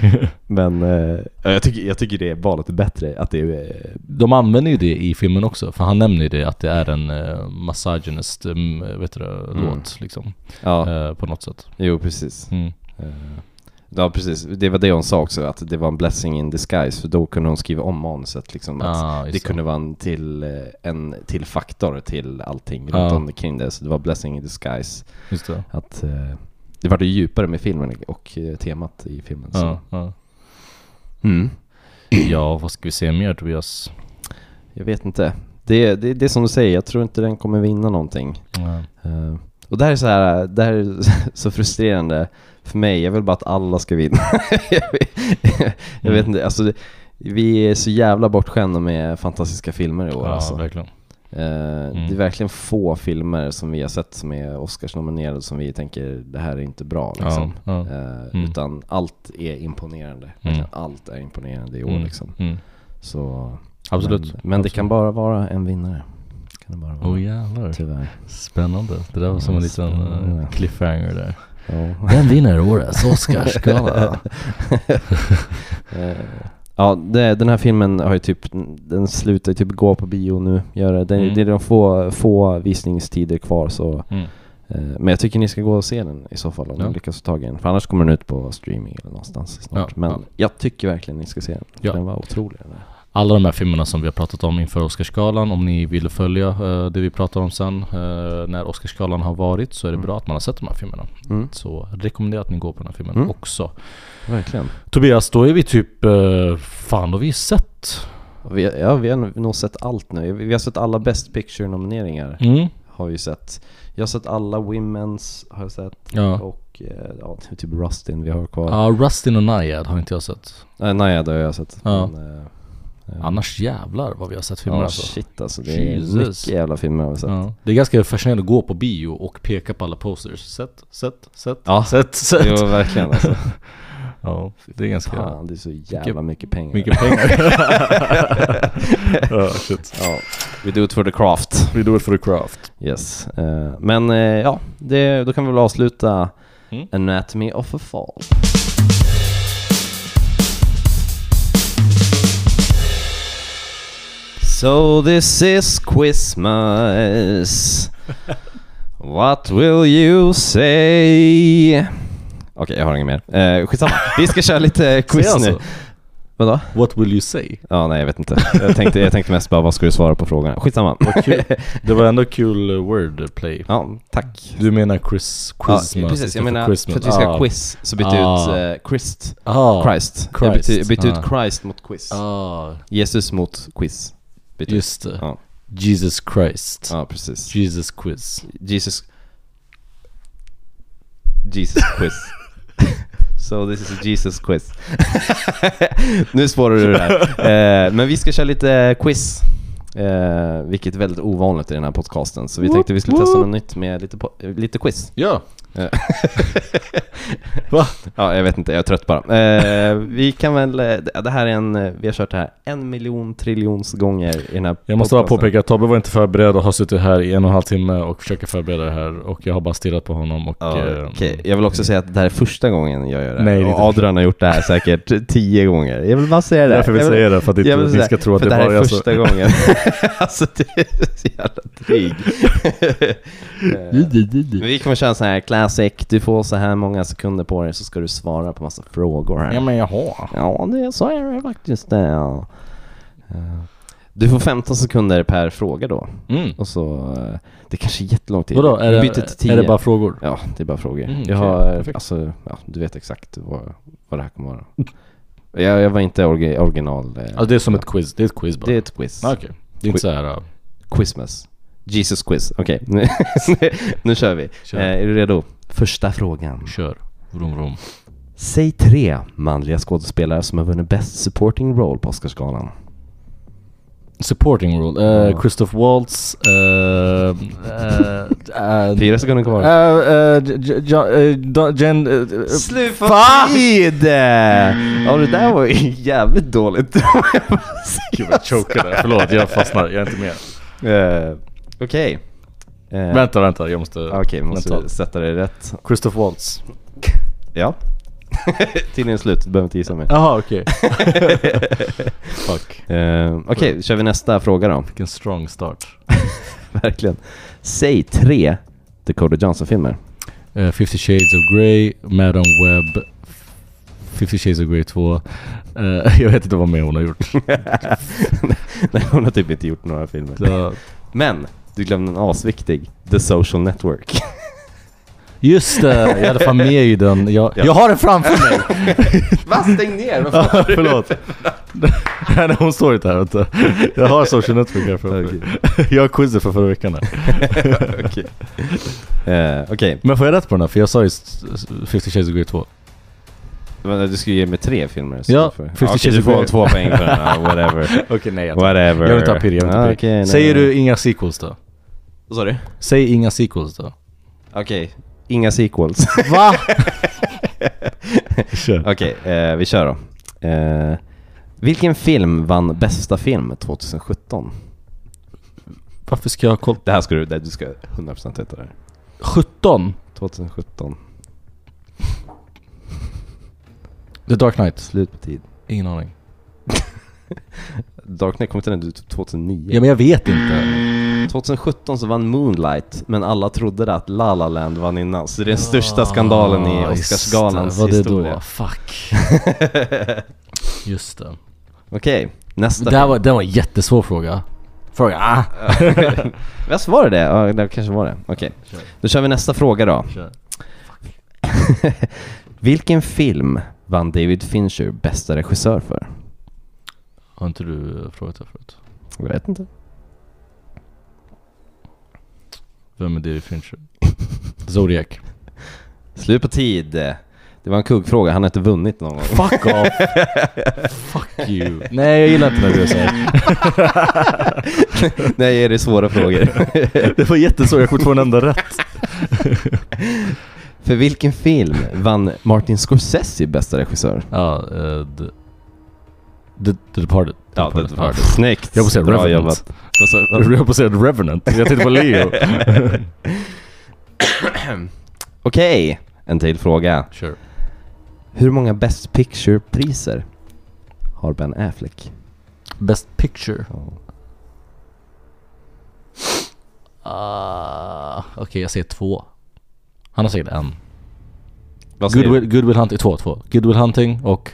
Speaker 1: Men eh, jag, tycker, jag tycker det är valet är bättre. Att det är, eh,
Speaker 2: [LAUGHS] De använder ju det i filmen också, för han nämner ju det att det är en uh, misogynist, um, vet du, det, låt liksom.
Speaker 1: Mm. ja,
Speaker 2: Eh, på något sätt.
Speaker 1: jo precis.
Speaker 2: Mm.
Speaker 1: Ja, precis. Det var det hon sa också, att det var en blessing in disguise. För då kunde hon skriva om manuset. Liksom, att
Speaker 2: Ah,
Speaker 1: det
Speaker 2: just det.
Speaker 1: kunde vara en till, eh, en till faktor till allting runt
Speaker 2: Ah.
Speaker 1: omkring det. Så det var blessing in disguise.
Speaker 2: Just det.
Speaker 1: att eh, det var det djupare med filmen och eh, temat i filmen. Så.
Speaker 2: Ja, ja.
Speaker 1: Mm.
Speaker 2: ja, vad ska vi se mer Tobias?
Speaker 1: Jag vet inte. Det, det, det är som du säger, jag tror inte den kommer vinna någonting.
Speaker 2: Ja.
Speaker 1: Eh, och det här är så här, eh, det här är [LAUGHS] så frustrerande för mig. Jag vill bara att alla ska vinna. [LAUGHS] jag vet, jag
Speaker 2: Mm.
Speaker 1: vet inte, alltså det, vi är så jävla bortskämda med fantastiska filmer i år.
Speaker 2: Ja,
Speaker 1: alltså.
Speaker 2: verkligen.
Speaker 1: Eh,
Speaker 2: Mm.
Speaker 1: Det är verkligen få filmer som vi har sett som är Oscarsnominerade som vi tänker det här är inte bra liksom.
Speaker 2: Ja, ja.
Speaker 1: Eh,
Speaker 2: Mm.
Speaker 1: Utan allt är imponerande. Verkligen Allt är imponerande i år
Speaker 2: Mm,
Speaker 1: liksom.
Speaker 2: mm.
Speaker 1: Så,
Speaker 2: Absolut. Oh,
Speaker 1: Men, men det kan bara vara en vinnare. Kan det bara vara.
Speaker 2: Åh jävlar.
Speaker 1: Tyvärr.
Speaker 2: Spännande. Det där var som en liten
Speaker 1: Spännande.
Speaker 2: eh, cliffhanger där.
Speaker 1: Ja. [LAUGHS]
Speaker 2: Den vinner alltså? årets Oscarsgala.
Speaker 1: Eh, Ja, det, den här filmen har ju typ, den slutar ju typ gå på bio nu. Gör det. Den,
Speaker 2: Mm.
Speaker 1: det är de få, få visningstider kvar så.
Speaker 2: Mm.
Speaker 1: eh, Men jag tycker ni ska gå och se den i så fall om
Speaker 2: Ja.
Speaker 1: ni lyckas få tag i den. För annars kommer den ut på streaming eller någonstans snart.
Speaker 2: Ja,
Speaker 1: men
Speaker 2: ja.
Speaker 1: jag tycker verkligen ni ska se den.
Speaker 2: Ja.
Speaker 1: Den var otrolig den där.
Speaker 2: Alla de här filmerna som vi har pratat om inför Oscarsgalan, om ni vill följa eh, det vi pratar om sen eh, när Oscarsgalan har varit så är det bra att man har sett de här filmerna.
Speaker 1: Mm.
Speaker 2: Så rekommenderar att ni går på den här filmen
Speaker 1: Mm.
Speaker 2: också.
Speaker 1: Verkligen.
Speaker 2: Tobias, då är vi typ, eh, fan då har vi ju sett.
Speaker 1: Och Vi, ja, vi har nog sett allt nu. Vi har sett alla Best Picture-nomineringar.
Speaker 2: Mm.
Speaker 1: har ju sett. Jag har sett alla Women's har jag sett.
Speaker 2: Ja.
Speaker 1: Och eh, ja, det är typ Rustin vi har kvar.
Speaker 2: Ja, Rustin och Naiad har inte jag sett.
Speaker 1: Eh, nej, det har jag sett.
Speaker 2: Ja.
Speaker 1: Men, eh,
Speaker 2: Annars jävlar vad vi har sett filmer
Speaker 1: ja,
Speaker 2: alltså.
Speaker 1: shit alltså. Det är
Speaker 2: Jesus.
Speaker 1: mycket jävla filmer har vi sett.
Speaker 2: Ja. Det är ganska fascinerande att gå på bio och peka på alla posters. Sett, sett, sett,
Speaker 1: Ja.
Speaker 2: sett, sett.
Speaker 1: Jo, verkligen alltså.
Speaker 2: Ja, det är ganska
Speaker 1: Fan, det är så jävla mycket pengar.
Speaker 2: mycket pengar. ja, shit.
Speaker 1: [LAUGHS] Ja, we do it for the craft.
Speaker 2: We do it for the craft.
Speaker 1: Yes. Eh, men eh, ja, det, då kan vi väl avsluta
Speaker 2: Mm.
Speaker 1: Anatomy of a Fall. So this is
Speaker 2: [LAUGHS]
Speaker 1: Christmas. What will you say? Okej, jag har inget mer. Eh, skitsamma. Vi ska köra
Speaker 2: [LAUGHS]
Speaker 1: lite quiz nu.
Speaker 2: alltså.
Speaker 1: Vadå?
Speaker 2: What will you say?
Speaker 1: Ja, nej jag vet inte. Jag tänkte, jag tänkte mest bara vad ska du svara på frågan? Skitsamma.
Speaker 2: Kul. Det var ändå kul eh, wordplay.
Speaker 1: [LAUGHS] Ja, tack.
Speaker 2: Du menar Chris, Christmas
Speaker 1: ja, precis, jag
Speaker 2: istället
Speaker 1: menar
Speaker 2: Christmas.
Speaker 1: för att vi ska
Speaker 2: ah.
Speaker 1: quiz så bytte
Speaker 2: Ah.
Speaker 1: jag ut eh, Christ.
Speaker 2: Ah.
Speaker 1: Christ. Jag
Speaker 2: Christ,
Speaker 1: bytte, jag bytte
Speaker 2: ah.
Speaker 1: ut Christ mot quiz.
Speaker 2: Ah,
Speaker 1: Jesus mot quiz. Bytte ut.
Speaker 2: just det.
Speaker 1: typ- Ja.
Speaker 2: Jesus Christ.
Speaker 1: Ja, precis.
Speaker 2: Jesus quiz.
Speaker 1: Jesus... Jesus
Speaker 2: [LAUGHS]
Speaker 1: quiz. so this is a Jesus quiz. [LAUGHS] nu spårar du det
Speaker 2: [LAUGHS]
Speaker 1: här. Eh, men vi ska köra lite quiz. Eh, vilket är väldigt ovanligt i den här podcasten. Så vi tänkte vi skulle testa något nytt med lite, po- eh, lite quiz.
Speaker 2: Ja.
Speaker 1: Eh. [LAUGHS]
Speaker 2: Va?
Speaker 1: Ja, jag vet inte, jag är trött bara. Eh, vi kan väl, eh, det det här är en, eh, vi har kört det här en miljon triljons gånger i den här
Speaker 2: Jag måste bara
Speaker 1: podcasten.
Speaker 2: påpeka att Tobbe var inte förberedd och har suttit här i en och en halv timme och försöker förbereda det här och jag har bara stirrat på honom och...
Speaker 1: Ja,
Speaker 2: eh,
Speaker 1: okej. Jag vill också säga att det här är första gången jag gör det.
Speaker 2: Nej, det är
Speaker 1: och
Speaker 2: inte
Speaker 1: Adrian har gjort det här säkert tio gånger. Jag vill bara säga det.
Speaker 2: Därför vill jag säga det, för att inte
Speaker 1: jag vill
Speaker 2: ni
Speaker 1: säga-
Speaker 2: ska tro att
Speaker 1: för
Speaker 2: det
Speaker 1: här
Speaker 2: bara
Speaker 1: är
Speaker 2: är så.
Speaker 1: första gången. [LAUGHS] alltså det är så jävla dryg. [LAUGHS] Men vi kommer köra en sån här classic, du får så här många sekunder på dig så ska du svara på massa frågor här.
Speaker 2: Ja men jaha.
Speaker 1: Ja, det, så är det faktiskt det. Ja. Eh, Du får 15 sekunder per fråga då.
Speaker 2: Mm.
Speaker 1: Och så, eh, det kanske är jättelång tid.
Speaker 2: Vadå, är
Speaker 1: Vi
Speaker 2: det,
Speaker 1: byter till 10.
Speaker 2: är det bara frågor?
Speaker 1: Ja, det är bara frågor.
Speaker 2: Mm, okej,
Speaker 1: jag har,
Speaker 2: perfekt.
Speaker 1: alltså, ja, du vet exakt vad, vad det här kommer vara. Jag, jag var inte orgi, original. eh,
Speaker 2: Alltså det är som ett quiz, det är ett quiz bara.
Speaker 1: det är ett quiz.
Speaker 2: Ah, Okej. Det är inte såhär... Uh,
Speaker 1: Quizmas. Jesus quiz. Okej, nu, [LAUGHS] nu kör vi.
Speaker 2: Kör.
Speaker 1: Eh, är du redo? Första frågan.
Speaker 2: kör. Vroom vroom.
Speaker 1: Säg tre manliga skådespelare som har vunnit Best Supporting Role på Oscarsgalan.
Speaker 2: Supporting role. Uh, Christoph Waltz.
Speaker 1: Eh,
Speaker 2: Uh,
Speaker 1: [LAUGHS]
Speaker 2: uh,
Speaker 1: Fyra sekunder kvar.
Speaker 2: eh, Jen... eh,
Speaker 1: Slut på tid! Ja det där var ju jävligt dåligt. [LAUGHS]
Speaker 2: Gud vad jag chokade, [LAUGHS] förlåt jag fastnar, jag är inte med.
Speaker 1: Eh, Okej. Eh,
Speaker 2: Vänta, vänta, jag måste...
Speaker 1: Okej, måste
Speaker 2: mentalt.
Speaker 1: sätta det rätt.
Speaker 2: Christoph Waltz.
Speaker 1: [LAUGHS] Ja. Tiden är slut, du behöver inte gissa mer. [LAUGHS]
Speaker 2: Jaha okej. [LAUGHS] Fuck.
Speaker 1: Eh, Okej, då kör vi nästa fråga då. [LAUGHS]
Speaker 2: Vilken strong start.
Speaker 1: Verkligen. Säg tre Dakota Johnson-filmer. [LAUGHS]
Speaker 2: Eh, 50 Shades of Grey, Madam Web, 50 Shades of Grey 2. Eh, [LAUGHS] jag vet inte vad mer hon
Speaker 1: [LAUGHS]
Speaker 2: har gjort.
Speaker 1: Nej, hon har typ inte gjort några filmer.
Speaker 2: Så,
Speaker 1: Men, du glömde en asviktig. The Social Network.
Speaker 2: just det, jag hade fan med i den. Jag, jag har den framför mig!
Speaker 1: [LAUGHS] [LAUGHS] Va? Stäng ner! Vad fan?
Speaker 2: Förlåt. [LAUGHS] Nej, nej, hon står inte här vänta. Jag har social network här framför mig. Jag har quizet för förra veckan
Speaker 1: [LAUGHS]
Speaker 2: här.
Speaker 1: Okej. [LAUGHS] Eh, Okej,
Speaker 2: Men får jag rätt på den här? För jag sa ju s- s- 50 Shades of Grey 2.
Speaker 1: Men eh, du skulle ge mig tre filmer. så
Speaker 2: Ja,
Speaker 1: därför-
Speaker 2: 50
Speaker 1: Okej,
Speaker 2: Shades
Speaker 1: du
Speaker 2: of
Speaker 1: får
Speaker 2: Grey.
Speaker 1: två poäng för den. här, Whatever.
Speaker 2: Okej, nej [LAUGHS] jag
Speaker 1: Whatever. Ah,
Speaker 2: Jag vill inte ha pirr, jag vill inte ha pirr.
Speaker 1: Okej, nej.
Speaker 2: Säger du inga sequels då?
Speaker 1: Vad sa du?
Speaker 2: Säg inga sequels då.
Speaker 1: Okej. Inga sequels.
Speaker 2: [LAUGHS]
Speaker 1: [LAUGHS]
Speaker 2: Va?
Speaker 1: Okej, eh, vi kör då. Eh, vilken film vann bästa film 2017?
Speaker 2: Varför ska jag ha koll?
Speaker 1: Det här ska du, det, du ska 100% veta det här.
Speaker 2: 17?
Speaker 1: 2017.
Speaker 2: The Dark Knight?
Speaker 1: Slut på tid.
Speaker 2: Ingen aning.
Speaker 1: Dark Knight kom inte den ut typ 2009.
Speaker 2: Ja men jag vet inte.
Speaker 1: 2017 så vann Moonlight, men alla trodde att La La Land vann innan. Så det är den största skandalen i
Speaker 2: Ah, just
Speaker 1: Oscarsgalans
Speaker 2: det. Vad det då?
Speaker 1: historia.
Speaker 2: [LAUGHS] Fuck. just det.
Speaker 1: Okej, nästa.
Speaker 2: Det här var, det var en jättesvår fråga. Fråga? Ah.
Speaker 1: [LAUGHS]
Speaker 2: [LAUGHS]
Speaker 1: Vad var det det? Ja, det kanske var det. Okej. Då kör vi nästa fråga då.
Speaker 2: Kör.
Speaker 1: Vilken film vann David Fincher bästa regissör för?
Speaker 2: Har inte du eh, frågat det förut?
Speaker 1: Jag vet inte.
Speaker 2: Vem är David Fincher? [LAUGHS] Zodiac.
Speaker 1: Slut på tid. Det var en kuggfråga, han har inte vunnit någon gång.
Speaker 2: [LAUGHS] Fuck off! Fuck you! Nej jag gillar inte när du gör såhär.
Speaker 1: [LAUGHS] [LAUGHS] Nej, är det svåra frågor.
Speaker 2: [LAUGHS] Det var jättesvårt, jag kommer inte få en enda rätt.
Speaker 1: För vilken film vann Martin Scorsese bästa regissör?
Speaker 2: Ja, eh, the, the, the Departed.
Speaker 1: det var Snyggt!
Speaker 2: Jag får säga
Speaker 1: Bra
Speaker 2: Revenant.
Speaker 1: jobbat. Vad sa- vad-
Speaker 2: Jag höll på att säga The Revenant, jag tänkte på Leo.
Speaker 1: [LAUGHS] Okej, en till fråga.
Speaker 2: Kör.
Speaker 1: Hur många Best Picture-priser har Ben Affleck?
Speaker 2: Best Picture.
Speaker 1: Ja.
Speaker 2: Ah, Okej, jag säger två. Han har säkert en.
Speaker 1: Vad säger
Speaker 2: Goodwill,
Speaker 1: du?
Speaker 2: Goodwill Hunting, två, två. Goodwill Hunting och...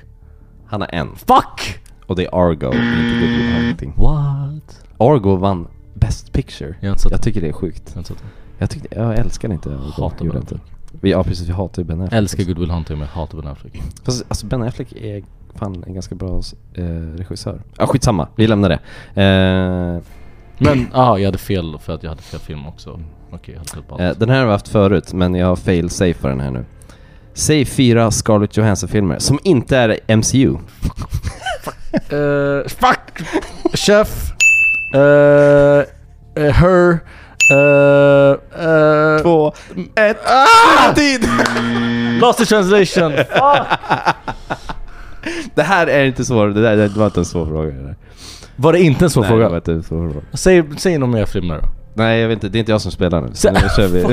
Speaker 1: Han har en.
Speaker 2: Fuck!
Speaker 1: Och det är Argo, inte Goodwill Hunting.
Speaker 2: What?
Speaker 1: Argo vann Best Picture.
Speaker 2: Jag har inte sett
Speaker 1: Jag tycker det är sjukt.
Speaker 2: den. Jag
Speaker 1: Jag, tyckte, jag älskar inte Argo. Gjorde
Speaker 2: Hatar Ben
Speaker 1: jag inte.
Speaker 2: Affleck.
Speaker 1: Vi, ja precis, vi hatar ju Ben Affleck.
Speaker 2: Älskar Goodwill Hunting men hatar Ben Affleck.
Speaker 1: Fast, alltså Ben Affleck är fan en ganska bra eh, regissör. Ja ah, skitsamma, vi lämnar det. Eh,
Speaker 2: Men, ah, jag hade fel för att jag hade fel film också. Okej, jag hade fel på allt.
Speaker 1: Mm. eh, den här har vi haft förut men jag har fail safe för den här nu. Säg fyra Scarlett Johansson-filmer som inte är MCU.
Speaker 2: Eh, fuck! Chef! Eh, eh, her! Uh,
Speaker 1: eh,
Speaker 2: uh,
Speaker 1: Två, ett, ah! tid!
Speaker 2: Lost in translation! Fuck!
Speaker 1: Det här är inte svårt, det, där, det var inte en svår fråga. Det där.
Speaker 2: Var det inte en svår
Speaker 1: Nej, det var
Speaker 2: fråga?
Speaker 1: inte en svår fråga.
Speaker 2: Säg, säg någon mer film då.
Speaker 1: Nej jag vet inte, det är inte jag som spelar nu. [LAUGHS] Så
Speaker 2: Så-
Speaker 1: nu kör vi.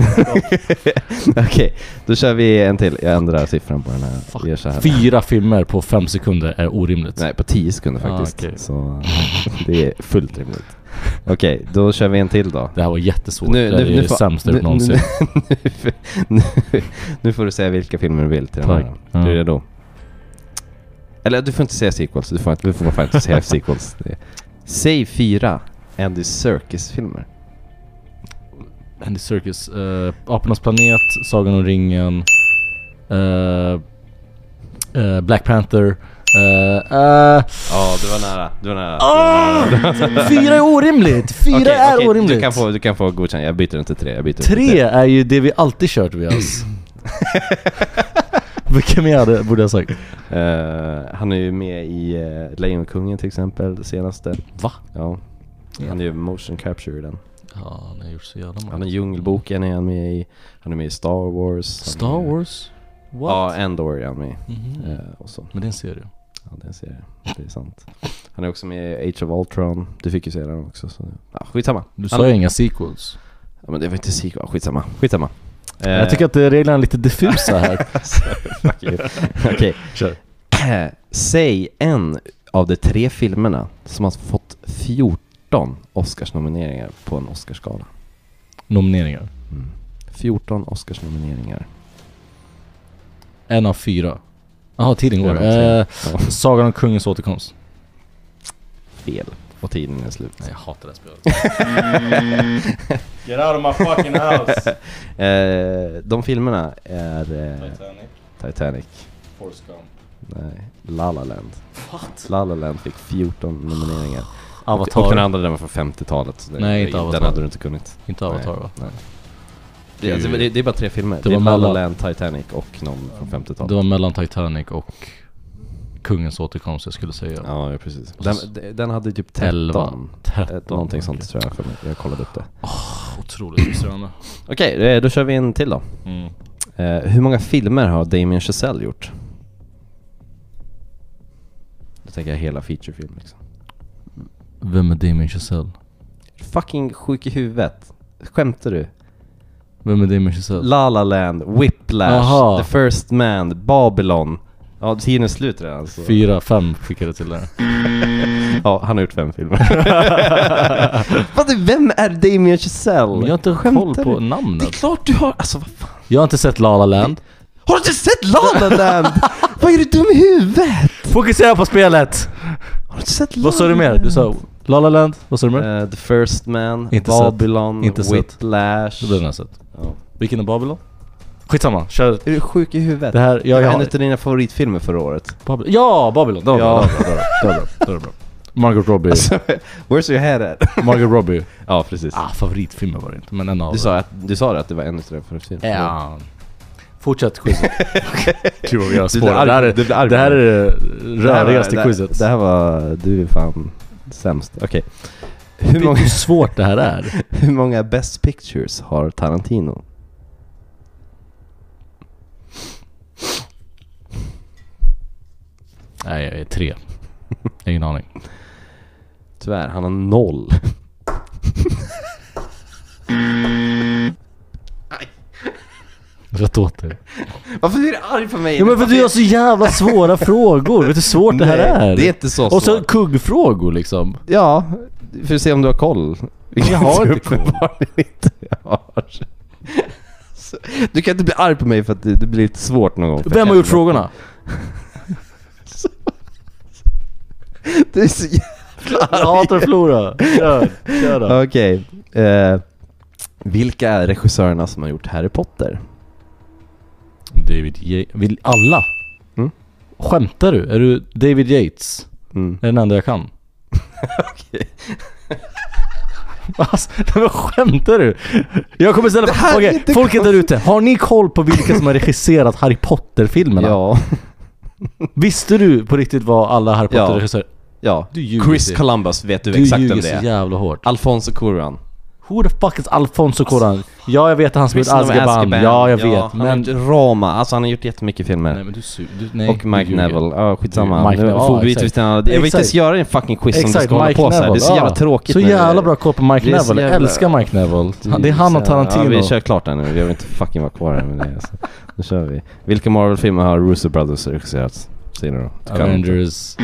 Speaker 1: [LAUGHS] Okej, då kör vi en till. Jag ändrar siffran på den här. Vi gör så här.
Speaker 2: Fyra filmer på fem sekunder är orimligt.
Speaker 1: Nej, på 10 sekunder
Speaker 2: Ah,
Speaker 1: faktiskt.
Speaker 2: okej.
Speaker 1: Så [LAUGHS] det är fullt rimligt. Okej, då kör vi en till då.
Speaker 2: Det här var jättesvårt. det här är det
Speaker 1: får-
Speaker 2: sämsta jag
Speaker 1: nu-
Speaker 2: gjort någonsin.
Speaker 1: nu- nu, [LAUGHS] nu, nu får du säga vilka filmer du vill till den
Speaker 2: Tack.
Speaker 1: här.
Speaker 2: Ja.
Speaker 1: Är du redo? Eller du får inte säga sequels, du får, inte- du får fan inte [LAUGHS] säga sequels. Det- Säg fyra Andy Serkis-filmer.
Speaker 2: Andy Serkis, eh, Apornas planet, Sagan om ringen, eh, eh, Black Panther. eh, eh,
Speaker 1: Ja, du var nära. Du var nära.
Speaker 2: Ah! Fyra är orimligt! Fyra
Speaker 1: Okej,
Speaker 2: är
Speaker 1: okej,
Speaker 2: orimligt!
Speaker 1: Du kan få, du kan få godkänt. Jag byter den till tre. Jag byter den till
Speaker 2: Tre är ju det vi alltid
Speaker 1: [LAUGHS]
Speaker 2: kör Tobias. Vilka mer hade- borde jag ha sagt?
Speaker 1: Eh, han är ju med i eh, Lejonkungen till exempel, det senaste.
Speaker 2: Va?
Speaker 1: Ja. Han är ju motion capture i den.
Speaker 2: Ja, han har gjort så jävla
Speaker 1: Han
Speaker 2: många.
Speaker 1: är Djungelboken är han med i. Han är med i Star Wars. han
Speaker 2: Star
Speaker 1: är-
Speaker 2: Wars? What?
Speaker 1: Ja, Endor är han med i.
Speaker 2: Mhm.
Speaker 1: Eh, och så.
Speaker 2: Men det är en serie.
Speaker 1: Ja, det ser jag. Det är sant. Han är också med i Age of Ultron. Du fick ju se den också. Så. Ja, skitsamma.
Speaker 2: Du
Speaker 1: Han-
Speaker 2: sa ju inga sequels.
Speaker 1: Ja, men det var inte sequel. Ja, Skitsamma. Skitsamma. Eh,
Speaker 2: Jag tycker att eh, reglerna är lite
Speaker 1: [LAUGHS]
Speaker 2: diffusa här.
Speaker 1: Fuck
Speaker 2: [LAUGHS]
Speaker 1: you. Okej.
Speaker 2: Kör.
Speaker 1: [CLEARS THROAT] Säg en av de tre filmerna som har fått 14 Oscarsnomineringar på en Oscarsgala.
Speaker 2: Nomineringar.
Speaker 1: 14 Oscarsnomineringar.
Speaker 2: En av fyra. Jaha, tiden går.
Speaker 1: En av tre.
Speaker 2: Eh,
Speaker 1: Ja,
Speaker 2: Sagan om kungens återkomst.
Speaker 1: fel. Och tiden är slut.
Speaker 2: Nej, jag hatar det här spelet. Get out of my fucking house!
Speaker 1: Eh, de filmerna är eh,
Speaker 2: Titanic,
Speaker 1: Titanic,
Speaker 2: [LAUGHS] Forrest Gump.
Speaker 1: nej, La La Land. What? La La Land fick 14 nomineringar.
Speaker 2: Avatar.
Speaker 1: Och den andra den var från 50-talet. så den-
Speaker 2: Nej, inte
Speaker 1: Den
Speaker 2: Avatar.
Speaker 1: hade du inte kunnit.
Speaker 2: Inte Avatar
Speaker 1: Nej,
Speaker 2: va?
Speaker 1: Nej. Det, alltså, det, det är bara tre filmer. Det,
Speaker 2: Det
Speaker 1: är
Speaker 2: var
Speaker 1: La La
Speaker 2: mellan-
Speaker 1: Land, Titanic och någon från 50-talet.
Speaker 2: Det var mellan Titanic och Kungens återkomst jag skulle säga.
Speaker 1: Ja, ja, precis.
Speaker 2: Och
Speaker 1: Den,
Speaker 2: så-
Speaker 1: d- den hade typ 13.
Speaker 2: Elva.
Speaker 1: 13
Speaker 2: 13.
Speaker 1: Eh, någonting sånt tror jag för mig. Jag kollade upp det.
Speaker 2: Otroligt frustrerande.
Speaker 1: Okej, eh, då kör vi en till då.
Speaker 2: Mm.
Speaker 1: Eh, hur många filmer har Damien Chazelle gjort? Då tänker jag hela featurefilm liksom.
Speaker 2: Vem är Damien Chazelle?
Speaker 1: Fucking sjuk i huvudet. Skämtar du?
Speaker 2: Vem är Damien Chazelle?
Speaker 1: La La Land, Whiplash,
Speaker 2: Aha.
Speaker 1: The First Man, Babylon. Ja, tiden är slut redan. Så.
Speaker 2: Fyra, fem skickade till dig.
Speaker 1: [LAUGHS]
Speaker 2: [LAUGHS]
Speaker 1: Ja, han har gjort fem filmer. [LAUGHS] Vad, vem är Damien Chazelle?
Speaker 2: Men jag har inte koll
Speaker 1: Skämtar
Speaker 2: på
Speaker 1: du? Det är
Speaker 2: namnet.
Speaker 1: klart du har, alltså vad fan.
Speaker 2: Jag har inte sett La La Land.
Speaker 1: Har du inte sett La
Speaker 2: [LAUGHS]
Speaker 1: La Land? Vad är du dum i huvudet?
Speaker 2: Fokusera på spelet!
Speaker 1: Har du inte sett La
Speaker 2: Vad sa du
Speaker 1: La
Speaker 2: mer? Du sa
Speaker 1: Land?
Speaker 2: La La Land, vad sa du mer?
Speaker 1: Eh, The First Man,
Speaker 2: Inte sett.
Speaker 1: Babylon,
Speaker 2: Inte sett.
Speaker 1: Whiplash.
Speaker 2: Det har jag sett.
Speaker 1: Ja.
Speaker 2: Vilken är Babylon? Skitsamma, kör.
Speaker 1: Är du sjuk i huvudet?
Speaker 2: Det här,
Speaker 1: det
Speaker 2: jag,
Speaker 1: var
Speaker 2: jag
Speaker 1: en
Speaker 2: har...
Speaker 1: av dina favoritfilmer förra året.
Speaker 2: Babylon. Ja, Babylon! Det var bra,
Speaker 1: Ja. Alltså.
Speaker 2: det var bra, det var bra, det var bra, det var bra. Margot Robbie.
Speaker 1: Where's your head at?
Speaker 2: Margot Robbie.
Speaker 1: ja, precis.
Speaker 2: Ah, favoritfilmen var det inte, men en av
Speaker 1: Du sa, att, du sa att det var en utav dina favoritfilmer.
Speaker 2: Ja. Fortsätt
Speaker 1: [LAUGHS]
Speaker 2: quizet. Gud vad vi har
Speaker 1: Du blir
Speaker 2: spårat.
Speaker 1: arg-
Speaker 2: Det här är-
Speaker 1: du blir arg
Speaker 2: Det här
Speaker 1: på mig.
Speaker 2: är det
Speaker 1: Det här var-
Speaker 2: rörigaste
Speaker 1: det-
Speaker 2: quizet.
Speaker 1: Det här var... Du är fan sämst. Okej. Hur,
Speaker 2: Vet
Speaker 1: många,
Speaker 2: du hur svårt det här är?
Speaker 1: hur många Best Pictures har Tarantino?
Speaker 2: Nej, jag är tre. Ingen aning.
Speaker 1: Tyvärr, han har noll.
Speaker 2: Rätt åt dig.
Speaker 1: [LAUGHS] Varför är du arg på mig?
Speaker 2: Ja men för du har så jävla [LAUGHS] svåra frågor. Vet du hur svårt det här
Speaker 1: Nej,
Speaker 2: är?
Speaker 1: det är inte så
Speaker 2: Och så
Speaker 1: svårt.
Speaker 2: kuggfrågor liksom.
Speaker 1: Ja, för att se om du har koll. Typ,
Speaker 2: Jag
Speaker 1: [LAUGHS]
Speaker 2: har inte koll.
Speaker 1: uppenbarligen inte har. Så, Du kan inte bli arg på mig för att det, det blir lite svårt någon gång. För
Speaker 2: Vem har
Speaker 1: helvete.
Speaker 2: gjort [LAUGHS] frågorna?
Speaker 1: Det är så jä-
Speaker 2: Jag hatar Flora. Kör, kör då.
Speaker 1: [LAUGHS] Okej. eh, vilka är regissörerna som har gjort Harry Potter?
Speaker 2: [LAUGHS] David Yates. Vill alla?
Speaker 1: Mm.
Speaker 2: Skämtar du? Är du David Yates?
Speaker 1: Mm.
Speaker 2: Är den enda jag [LAUGHS] kan?
Speaker 1: Okej.
Speaker 2: [LAUGHS] Alltså, [LAUGHS] nej, men skämtar du? Jag kommer ställa...
Speaker 1: Det här är
Speaker 2: Okej,
Speaker 1: inte
Speaker 2: folket
Speaker 1: konstigt.
Speaker 2: där ute. Har ni koll på vilka [LAUGHS] som har regisserat Harry Potter-filmerna?
Speaker 1: Ja.
Speaker 2: Visste du på riktigt vad alla Harry
Speaker 1: Ja.
Speaker 2: Potter-regissörer...
Speaker 1: [LAUGHS] ja.
Speaker 2: Du ljuger
Speaker 1: Chris
Speaker 2: till.
Speaker 1: Columbus vet du,
Speaker 2: Du
Speaker 1: exakt
Speaker 2: ljuger
Speaker 1: vem
Speaker 2: så
Speaker 1: det är.
Speaker 2: jävla hårt.
Speaker 1: Alfonso Cuarón.
Speaker 2: Who the fuck is Alfonso Cuarón? Ja, jag vet att han spelat
Speaker 1: Prisoner of
Speaker 2: Azkaban.
Speaker 1: alltså, Azkaban.
Speaker 2: Ja, jag
Speaker 1: han
Speaker 2: vet.
Speaker 1: har
Speaker 2: Men...
Speaker 1: gjort Roma. Alltså han har gjort jättemycket filmer.
Speaker 2: Nej, men du, su- du, nej,
Speaker 1: Och
Speaker 2: du
Speaker 1: Mike
Speaker 2: ljuger.
Speaker 1: Neville, ja skitsamma.
Speaker 2: Mike
Speaker 1: nu
Speaker 2: Neville,
Speaker 1: får
Speaker 2: ja,
Speaker 1: vi byta
Speaker 2: exakt.
Speaker 1: till en annan. Jag vill inte
Speaker 2: Exakt.
Speaker 1: ens göra en fucking quiz som du
Speaker 2: Exakt,
Speaker 1: ska hålla
Speaker 2: Mike
Speaker 1: på så här.
Speaker 2: Neville.
Speaker 1: Det är så jävla
Speaker 2: ja.
Speaker 1: tråkigt
Speaker 2: Så
Speaker 1: nu.
Speaker 2: jävla bra koll på Mike
Speaker 1: Det är så
Speaker 2: Neville.
Speaker 1: jävla-
Speaker 2: Älskar Mike Neville. Han, det är han och Tarantino.
Speaker 1: Ja, vi kör klart här nu. Jag vill inte fucking vara kvar här med det. Alltså. Nu kör vi. Vilka Marvel-filmer har Russo Brothers regisserat? Säg nu då. Du kan.
Speaker 2: Avengers.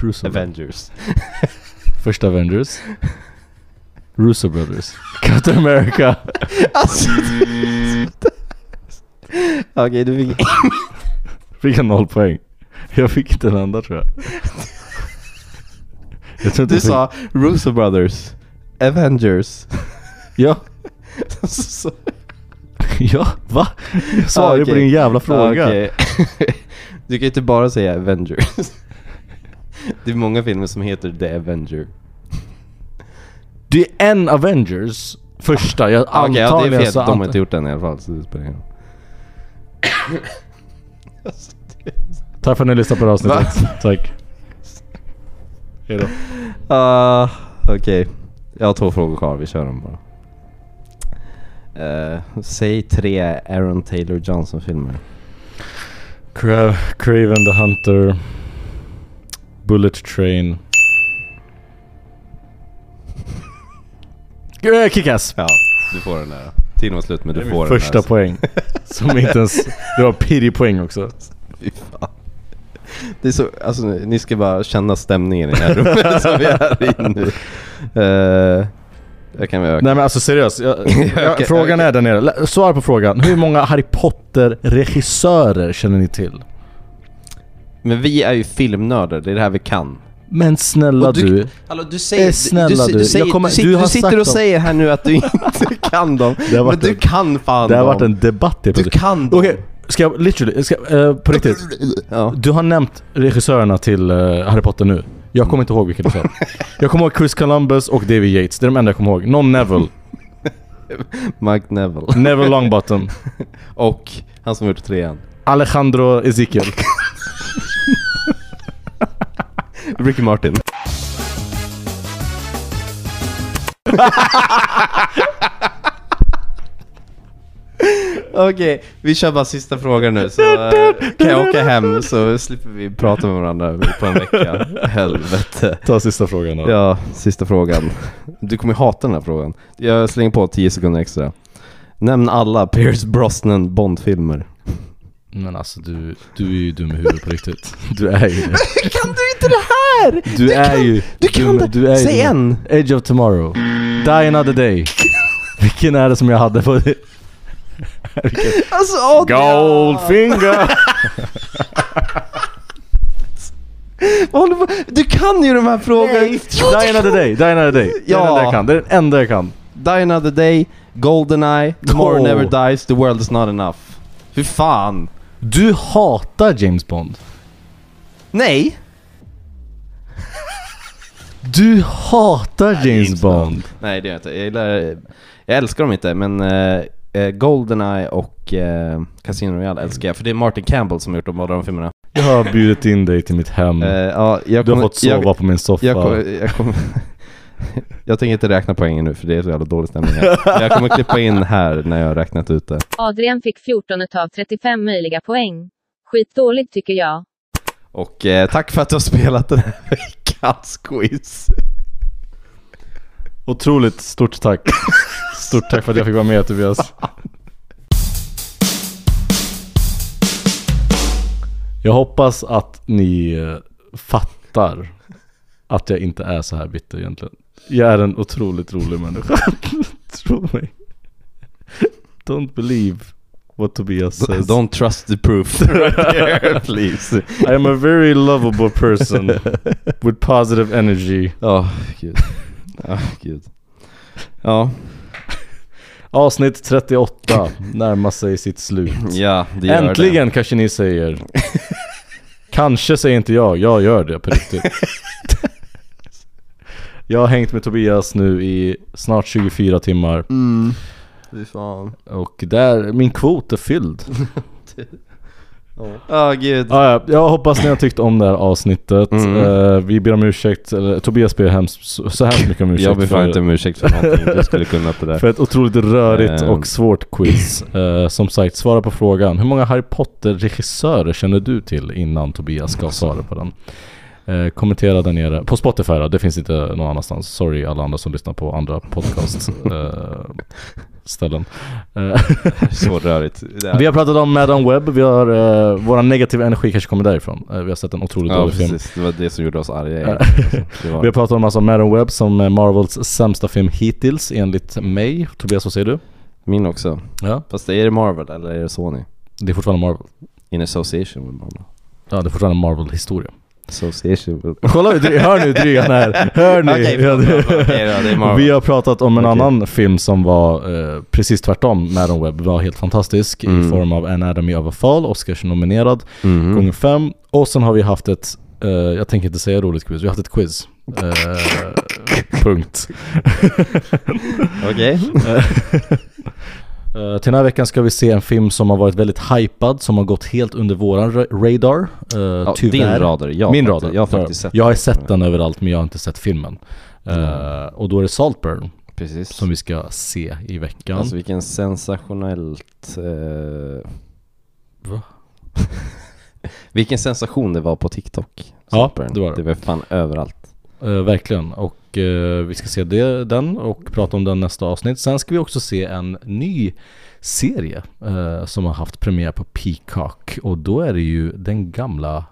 Speaker 2: Russo.
Speaker 1: Avengers. [LAUGHS]
Speaker 2: Första Avengers. Russo Brothers. [LAUGHS] Captain America. [LAUGHS]
Speaker 1: Alltså, [LAUGHS] Okej, du fick...
Speaker 2: Fick jag noll poäng? Jag fick inte en enda tror jag.
Speaker 1: [LAUGHS]
Speaker 2: jag tror inte
Speaker 1: Du
Speaker 2: jag
Speaker 1: sa
Speaker 2: fick-
Speaker 1: Russo Brothers. Avengers.
Speaker 2: Ja.
Speaker 1: [LAUGHS] Så-
Speaker 2: [LAUGHS] Ja, va? Jag svarade
Speaker 1: okej. Ah,
Speaker 2: på din jävla fråga.
Speaker 1: Okej. [LAUGHS] Du kan ju inte bara säga Avengers. [LAUGHS] Det är många filmer som heter The Avenger.
Speaker 2: Det är en Avengers. Första, jag
Speaker 1: Ah, Okej,
Speaker 2: antagligen
Speaker 1: ja, det är fel.
Speaker 2: så
Speaker 1: De har
Speaker 2: ant-
Speaker 1: inte gjort den i alla fall, så det spelar ingen roll.
Speaker 2: Tack för att ni lyssnade på det här avsnittet. Tack. Hejdå.
Speaker 1: Ah, Okej, jag har två frågor kvar. Vi kör dem bara. Eh, säg tre Aaron Taylor Johnson-filmer.
Speaker 2: Cra- Craven the Hunter. Bullet Train. Eh, Kickass!
Speaker 1: Ja, du får den där. Tiden var slut men du får
Speaker 2: Första
Speaker 1: den alltså. där. [LAUGHS]
Speaker 2: poäng. Som inte ens... Det var pirrig poäng också.
Speaker 1: Fy fan. Det är så, alltså, ni ni ska bara känna stämningen i det här [LAUGHS] rummet som vi är i nu. Eh, jag kan väl öka.
Speaker 2: Nej men alltså
Speaker 1: [LAUGHS]
Speaker 2: seriöst. Jag, jag,
Speaker 1: Okej,
Speaker 2: frågan är där nere. Lä- Svar på frågan. Hur många Harry Potter-regissörer känner ni till?
Speaker 1: Men vi är ju filmnördar, det är det här vi kan.
Speaker 2: Men snälla
Speaker 1: Och
Speaker 2: du,
Speaker 1: Hallå, du säger,
Speaker 2: Eh, snälla
Speaker 1: du, du,
Speaker 2: du.
Speaker 1: du, säger,
Speaker 2: Jag kommer-
Speaker 1: du, sitter,
Speaker 2: du
Speaker 1: du,
Speaker 2: har sagt
Speaker 1: sitter och
Speaker 2: dem.
Speaker 1: säger här nu [LAUGHS] att du inte kan dem.
Speaker 2: Det har
Speaker 1: Men
Speaker 2: varit
Speaker 1: du
Speaker 2: en-
Speaker 1: kan fan
Speaker 2: Det har
Speaker 1: dem.
Speaker 2: varit en debatt helt
Speaker 1: Du
Speaker 2: plötsligt.
Speaker 1: kan dem.
Speaker 2: Okej, ska jag literally, ska, eh, på riktigt.
Speaker 1: Ja.
Speaker 2: Du har nämnt regissörerna till eh, Harry Potter nu. Jag kommer inte ihåg vilka du sa.
Speaker 1: [LAUGHS]
Speaker 2: jag kommer ihåg Chris Columbus och David Yates. Det är de enda jag kommer ihåg.
Speaker 1: [LAUGHS]
Speaker 2: Någon Neville.
Speaker 1: Mike Neville.
Speaker 2: Neville Longbottom.
Speaker 1: [LAUGHS] Och han som gjort trean.
Speaker 2: Alejandro Ezekiel.
Speaker 1: Ricky Martin. Okej, vi kör bara sista frågan nu så eh, kan jag åka hem så slipper vi prata med varandra på en [LAUGHS] vecka. Helvete.
Speaker 2: Ta sista frågan då.
Speaker 1: Ja, sista frågan. Du kommer ju hata den här frågan. Jag slänger på 10 sekunder extra. Nämn alla Pierce Brosnan Bond-filmer.
Speaker 2: Men alltså du, du är ju dum i huvudet på riktigt. [LAUGHS] Du är ju det.
Speaker 1: Kan du inte det här?
Speaker 2: Du, är ju...
Speaker 1: du kan det.
Speaker 2: är ju
Speaker 1: Säg
Speaker 2: dum. Edge of tomorrow. Die
Speaker 1: [LAUGHS]
Speaker 2: another day. Vilken är det som jag hade på...
Speaker 1: Alltså Adrian!
Speaker 2: [LAUGHS] Goldfinger!
Speaker 1: vad håller du på- Du kan ju de här frågorna!
Speaker 2: Die another day, die another day. Det är
Speaker 1: Ja.
Speaker 2: den enda jag kan. Det är den enda jag kan.
Speaker 1: Die another day, Goldeneye, Tomorrow
Speaker 2: Oh.
Speaker 1: never dies, the world is not enough. Fy fan!
Speaker 2: Du hatar James Bond.
Speaker 1: Nej!
Speaker 2: Du hatar James, Bond.
Speaker 1: Nej det gör jag inte. Jag, gillar, jag älskar dem inte men eh, eh, Goldeneye och eh, Casino Royale älskar jag för det är Martin Campbell som har gjort de båda de filmerna.
Speaker 2: Jag har bjudit in dig till mitt hem.
Speaker 1: Eh, ja, jag
Speaker 2: du har
Speaker 1: kommer-
Speaker 2: fått sova
Speaker 1: jag,
Speaker 2: på min soffa.
Speaker 1: jag, kommer, jag, kommer, [LAUGHS] jag tänker inte räkna poängen nu för det är så jävla dålig stämning [LAUGHS] här. Jag kommer klippa in här när jag har räknat ut det.
Speaker 9: Adrian fick 14 av 35 möjliga poäng. Skitdåligt tycker jag.
Speaker 1: Och eh, tack för att du har spelat den här veckans quiz.
Speaker 2: Otroligt stort tack. Stort tack för att jag fick vara med Tobias. Jag hoppas att ni eh, fattar att jag inte är så här bitter egentligen. Jag är en otroligt rolig människa. [LAUGHS] Tro mig. Don't believe what Tobias says.
Speaker 1: Don't trust the proof [LAUGHS] right there, [LAUGHS] please.
Speaker 2: I am a very lovable [LAUGHS] person with positive energy.
Speaker 1: Ja, gud. Ja, gud. Ja,
Speaker 2: Avsnitt 38 [LAUGHS] närmar sig sitt slut.
Speaker 1: ja det gör
Speaker 2: Äntligen kanske
Speaker 1: [LAUGHS]
Speaker 2: ni säger. kanske säger inte jag, jag gör det
Speaker 1: [LAUGHS]
Speaker 2: på riktigt. jag har hängt med Tobias nu i snart 24 timmar
Speaker 1: Mm. det. Fy fan.
Speaker 2: och där, min kvot
Speaker 1: [LAUGHS]
Speaker 2: är fylld.
Speaker 1: Ja, gud.
Speaker 2: Ah, ja, jag hoppas ni har tyckt om det här avsnittet.
Speaker 1: Mm.
Speaker 2: Eh, vi ber om ursäkt, eller Tobias ber hemskt, så så hemskt mycket om ursäkt
Speaker 1: Jag ber fan
Speaker 2: för-
Speaker 1: inte om ursäkt för någonting. Du skulle kunna på det där.
Speaker 2: För ett otroligt rörigt
Speaker 1: Ehm.
Speaker 2: och svårt
Speaker 1: [CLEARS THROAT]
Speaker 2: quiz. Eh, som sagt, svara på frågan. Hur många Harry Potter-regissörer känner du till innan Tobias ska svara på den? Eh, kommentera där nere. På Spotify då, det finns inte någon annanstans. Sorry alla andra som lyssnar på andra
Speaker 1: [LAUGHS]
Speaker 2: eh, podcast-ställen. [LAUGHS]
Speaker 1: Så rörigt. Det är-
Speaker 2: Eh, vi har pratat om Madame Webb, vi har, eh, våra negativa energi kanske kommer därifrån. Eh, vi har sett en otroligt
Speaker 1: Ja
Speaker 2: dålig film.
Speaker 1: precis, det var det som gjorde oss arga. Det
Speaker 2: Vi har
Speaker 1: var...
Speaker 2: pratat om alltså Madame Webb som är Marvels sämsta film hittills enligt mig. Tobias, vad säger du?
Speaker 1: Min också.
Speaker 2: Ja.
Speaker 1: Fast är det Marvel eller är det Sony?
Speaker 2: Det är fortfarande Marvel.
Speaker 1: In association with Marvel.
Speaker 2: Ja, det är fortfarande Marvel-historia.
Speaker 1: Association with...
Speaker 2: Kolla, hur dry- hör nu drygan här. Hör ni?
Speaker 1: Okej, förlåt, förlåt, förlåt. [LAUGHS] Okej, ja, det är Marvel.
Speaker 2: [LAUGHS] Vi har pratat om en
Speaker 1: Okej.
Speaker 2: annan film som var eh, precis tvärtom. Madam Web var helt fantastisk i form av Anatomy of a Fall, Oscars-nominerad, gånger fem. Och sen har vi haft ett, eh, jag tänker inte säga roligt quiz, vi har haft ett quiz. Eh, punkt.
Speaker 1: Okej.
Speaker 2: Eh, till den här veckan ska vi se en film som har varit väldigt hypad, som har gått helt under våran ra- radar. Uh,
Speaker 1: Ja,
Speaker 2: tyvärr.
Speaker 1: din radar. Jag
Speaker 2: Min
Speaker 1: har
Speaker 2: radar.
Speaker 1: faktiskt- jag har faktiskt sett
Speaker 2: Jag har
Speaker 1: den. Mm.
Speaker 2: sett den överallt men jag har inte sett filmen. Eh, och då är det Saltburn
Speaker 1: [LAUGHS] Precis.
Speaker 2: som vi ska se i veckan.
Speaker 1: Alltså vilken sensationellt... Eh...
Speaker 2: Va?
Speaker 1: [LAUGHS] vilken sensation det var på TikTok.
Speaker 2: Ja,
Speaker 1: Saltburn.
Speaker 2: det var det.
Speaker 1: Det var fan överallt.
Speaker 2: Eh, verkligen. Och eh, vi ska se det, den och prata om den nästa avsnitt. Sen ska vi också se en ny serie eh, som har haft premiär på Peacock. Och då är det ju den gamla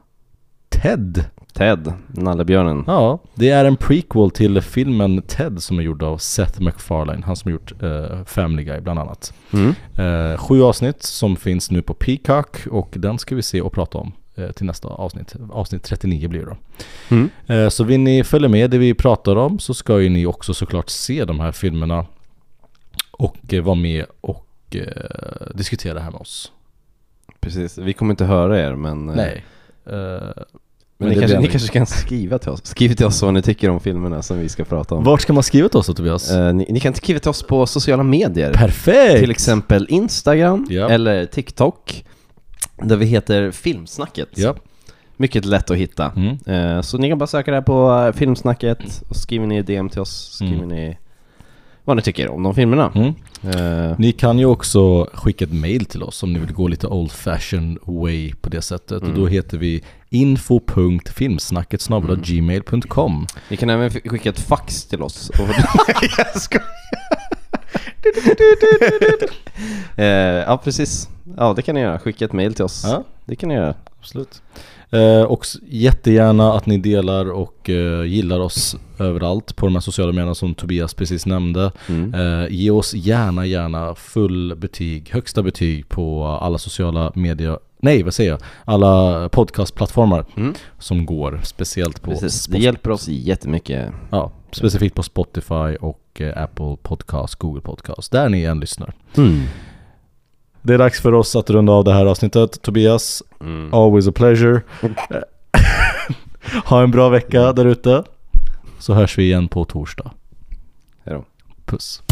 Speaker 2: Ted.
Speaker 1: Ted, Nallebjörnen.
Speaker 2: Ja, det är en prequel till filmen Ted som är gjord av Seth MacFarlane, han som gjort eh, Family Guy bland annat.
Speaker 1: Mm.
Speaker 2: Eh, sju avsnitt som finns nu på Peacock och den ska vi se och prata om eh, till nästa avsnitt. Avsnitt 39 blir det då.
Speaker 1: Mm.
Speaker 2: Eh, så vill ni följa med det vi pratar om så ska ju ni också såklart se de här filmerna och eh, vara med och eh, diskutera det här med oss.
Speaker 1: Precis. Vi kommer inte höra er men... eh,
Speaker 2: Nej. Eh,
Speaker 1: Men,
Speaker 2: det
Speaker 1: ni,
Speaker 2: blir
Speaker 1: kanske,
Speaker 2: en-
Speaker 1: ni kanske kan skriva till oss. Skriv till oss vad ni tycker om filmerna som vi ska prata om.
Speaker 2: Vart ska man skriva till oss då Tobias?
Speaker 1: Eh, ni, ni kan skriva till oss på sociala medier.
Speaker 2: Perfekt!
Speaker 1: Till exempel Instagram
Speaker 2: Ja.
Speaker 1: eller TikTok. Där vi heter Filmsnacket.
Speaker 2: Ja.
Speaker 1: Mycket lätt att hitta. Eh, Så ni kan bara söka där på eh, Filmsnacket och skriver ni DM till oss, skriver ni vad ni tycker om de filmerna. Eh,
Speaker 2: Ni kan ju också skicka ett mail till oss om ni vill gå lite old fashion way på det sättet. Och då heter vi info.filmsnacket gmail.com
Speaker 1: Ni kan även f- skicka ett fax till oss. Och... Jag skojar. [LAUGHS] Eh, ja, precis. Ja, det kan ni göra. Skicka ett mail till oss.
Speaker 2: Ja.
Speaker 1: Det kan ni göra.
Speaker 2: Absolut. Eh, och s- jättegärna att ni delar och eh, gillar oss överallt på de här sociala medierna som Tobias precis nämnde. Eh, ge oss gärna, gärna full betyg, högsta betyg på alla sociala medier. Nej, vad säger jag? Alla podcastplattformar som går, speciellt på
Speaker 1: Precis. Det hjälper oss jättemycket.
Speaker 2: Ja, specifikt på Spotify och eh, Apple Podcast, Google Podcast, där ni än lyssnar. Det är dags för oss att runda av det här avsnittet. Tobias, always a pleasure. ha en bra vecka där ute.
Speaker 1: Så hörs vi igen på torsdag.
Speaker 2: Hej då.
Speaker 1: Puss.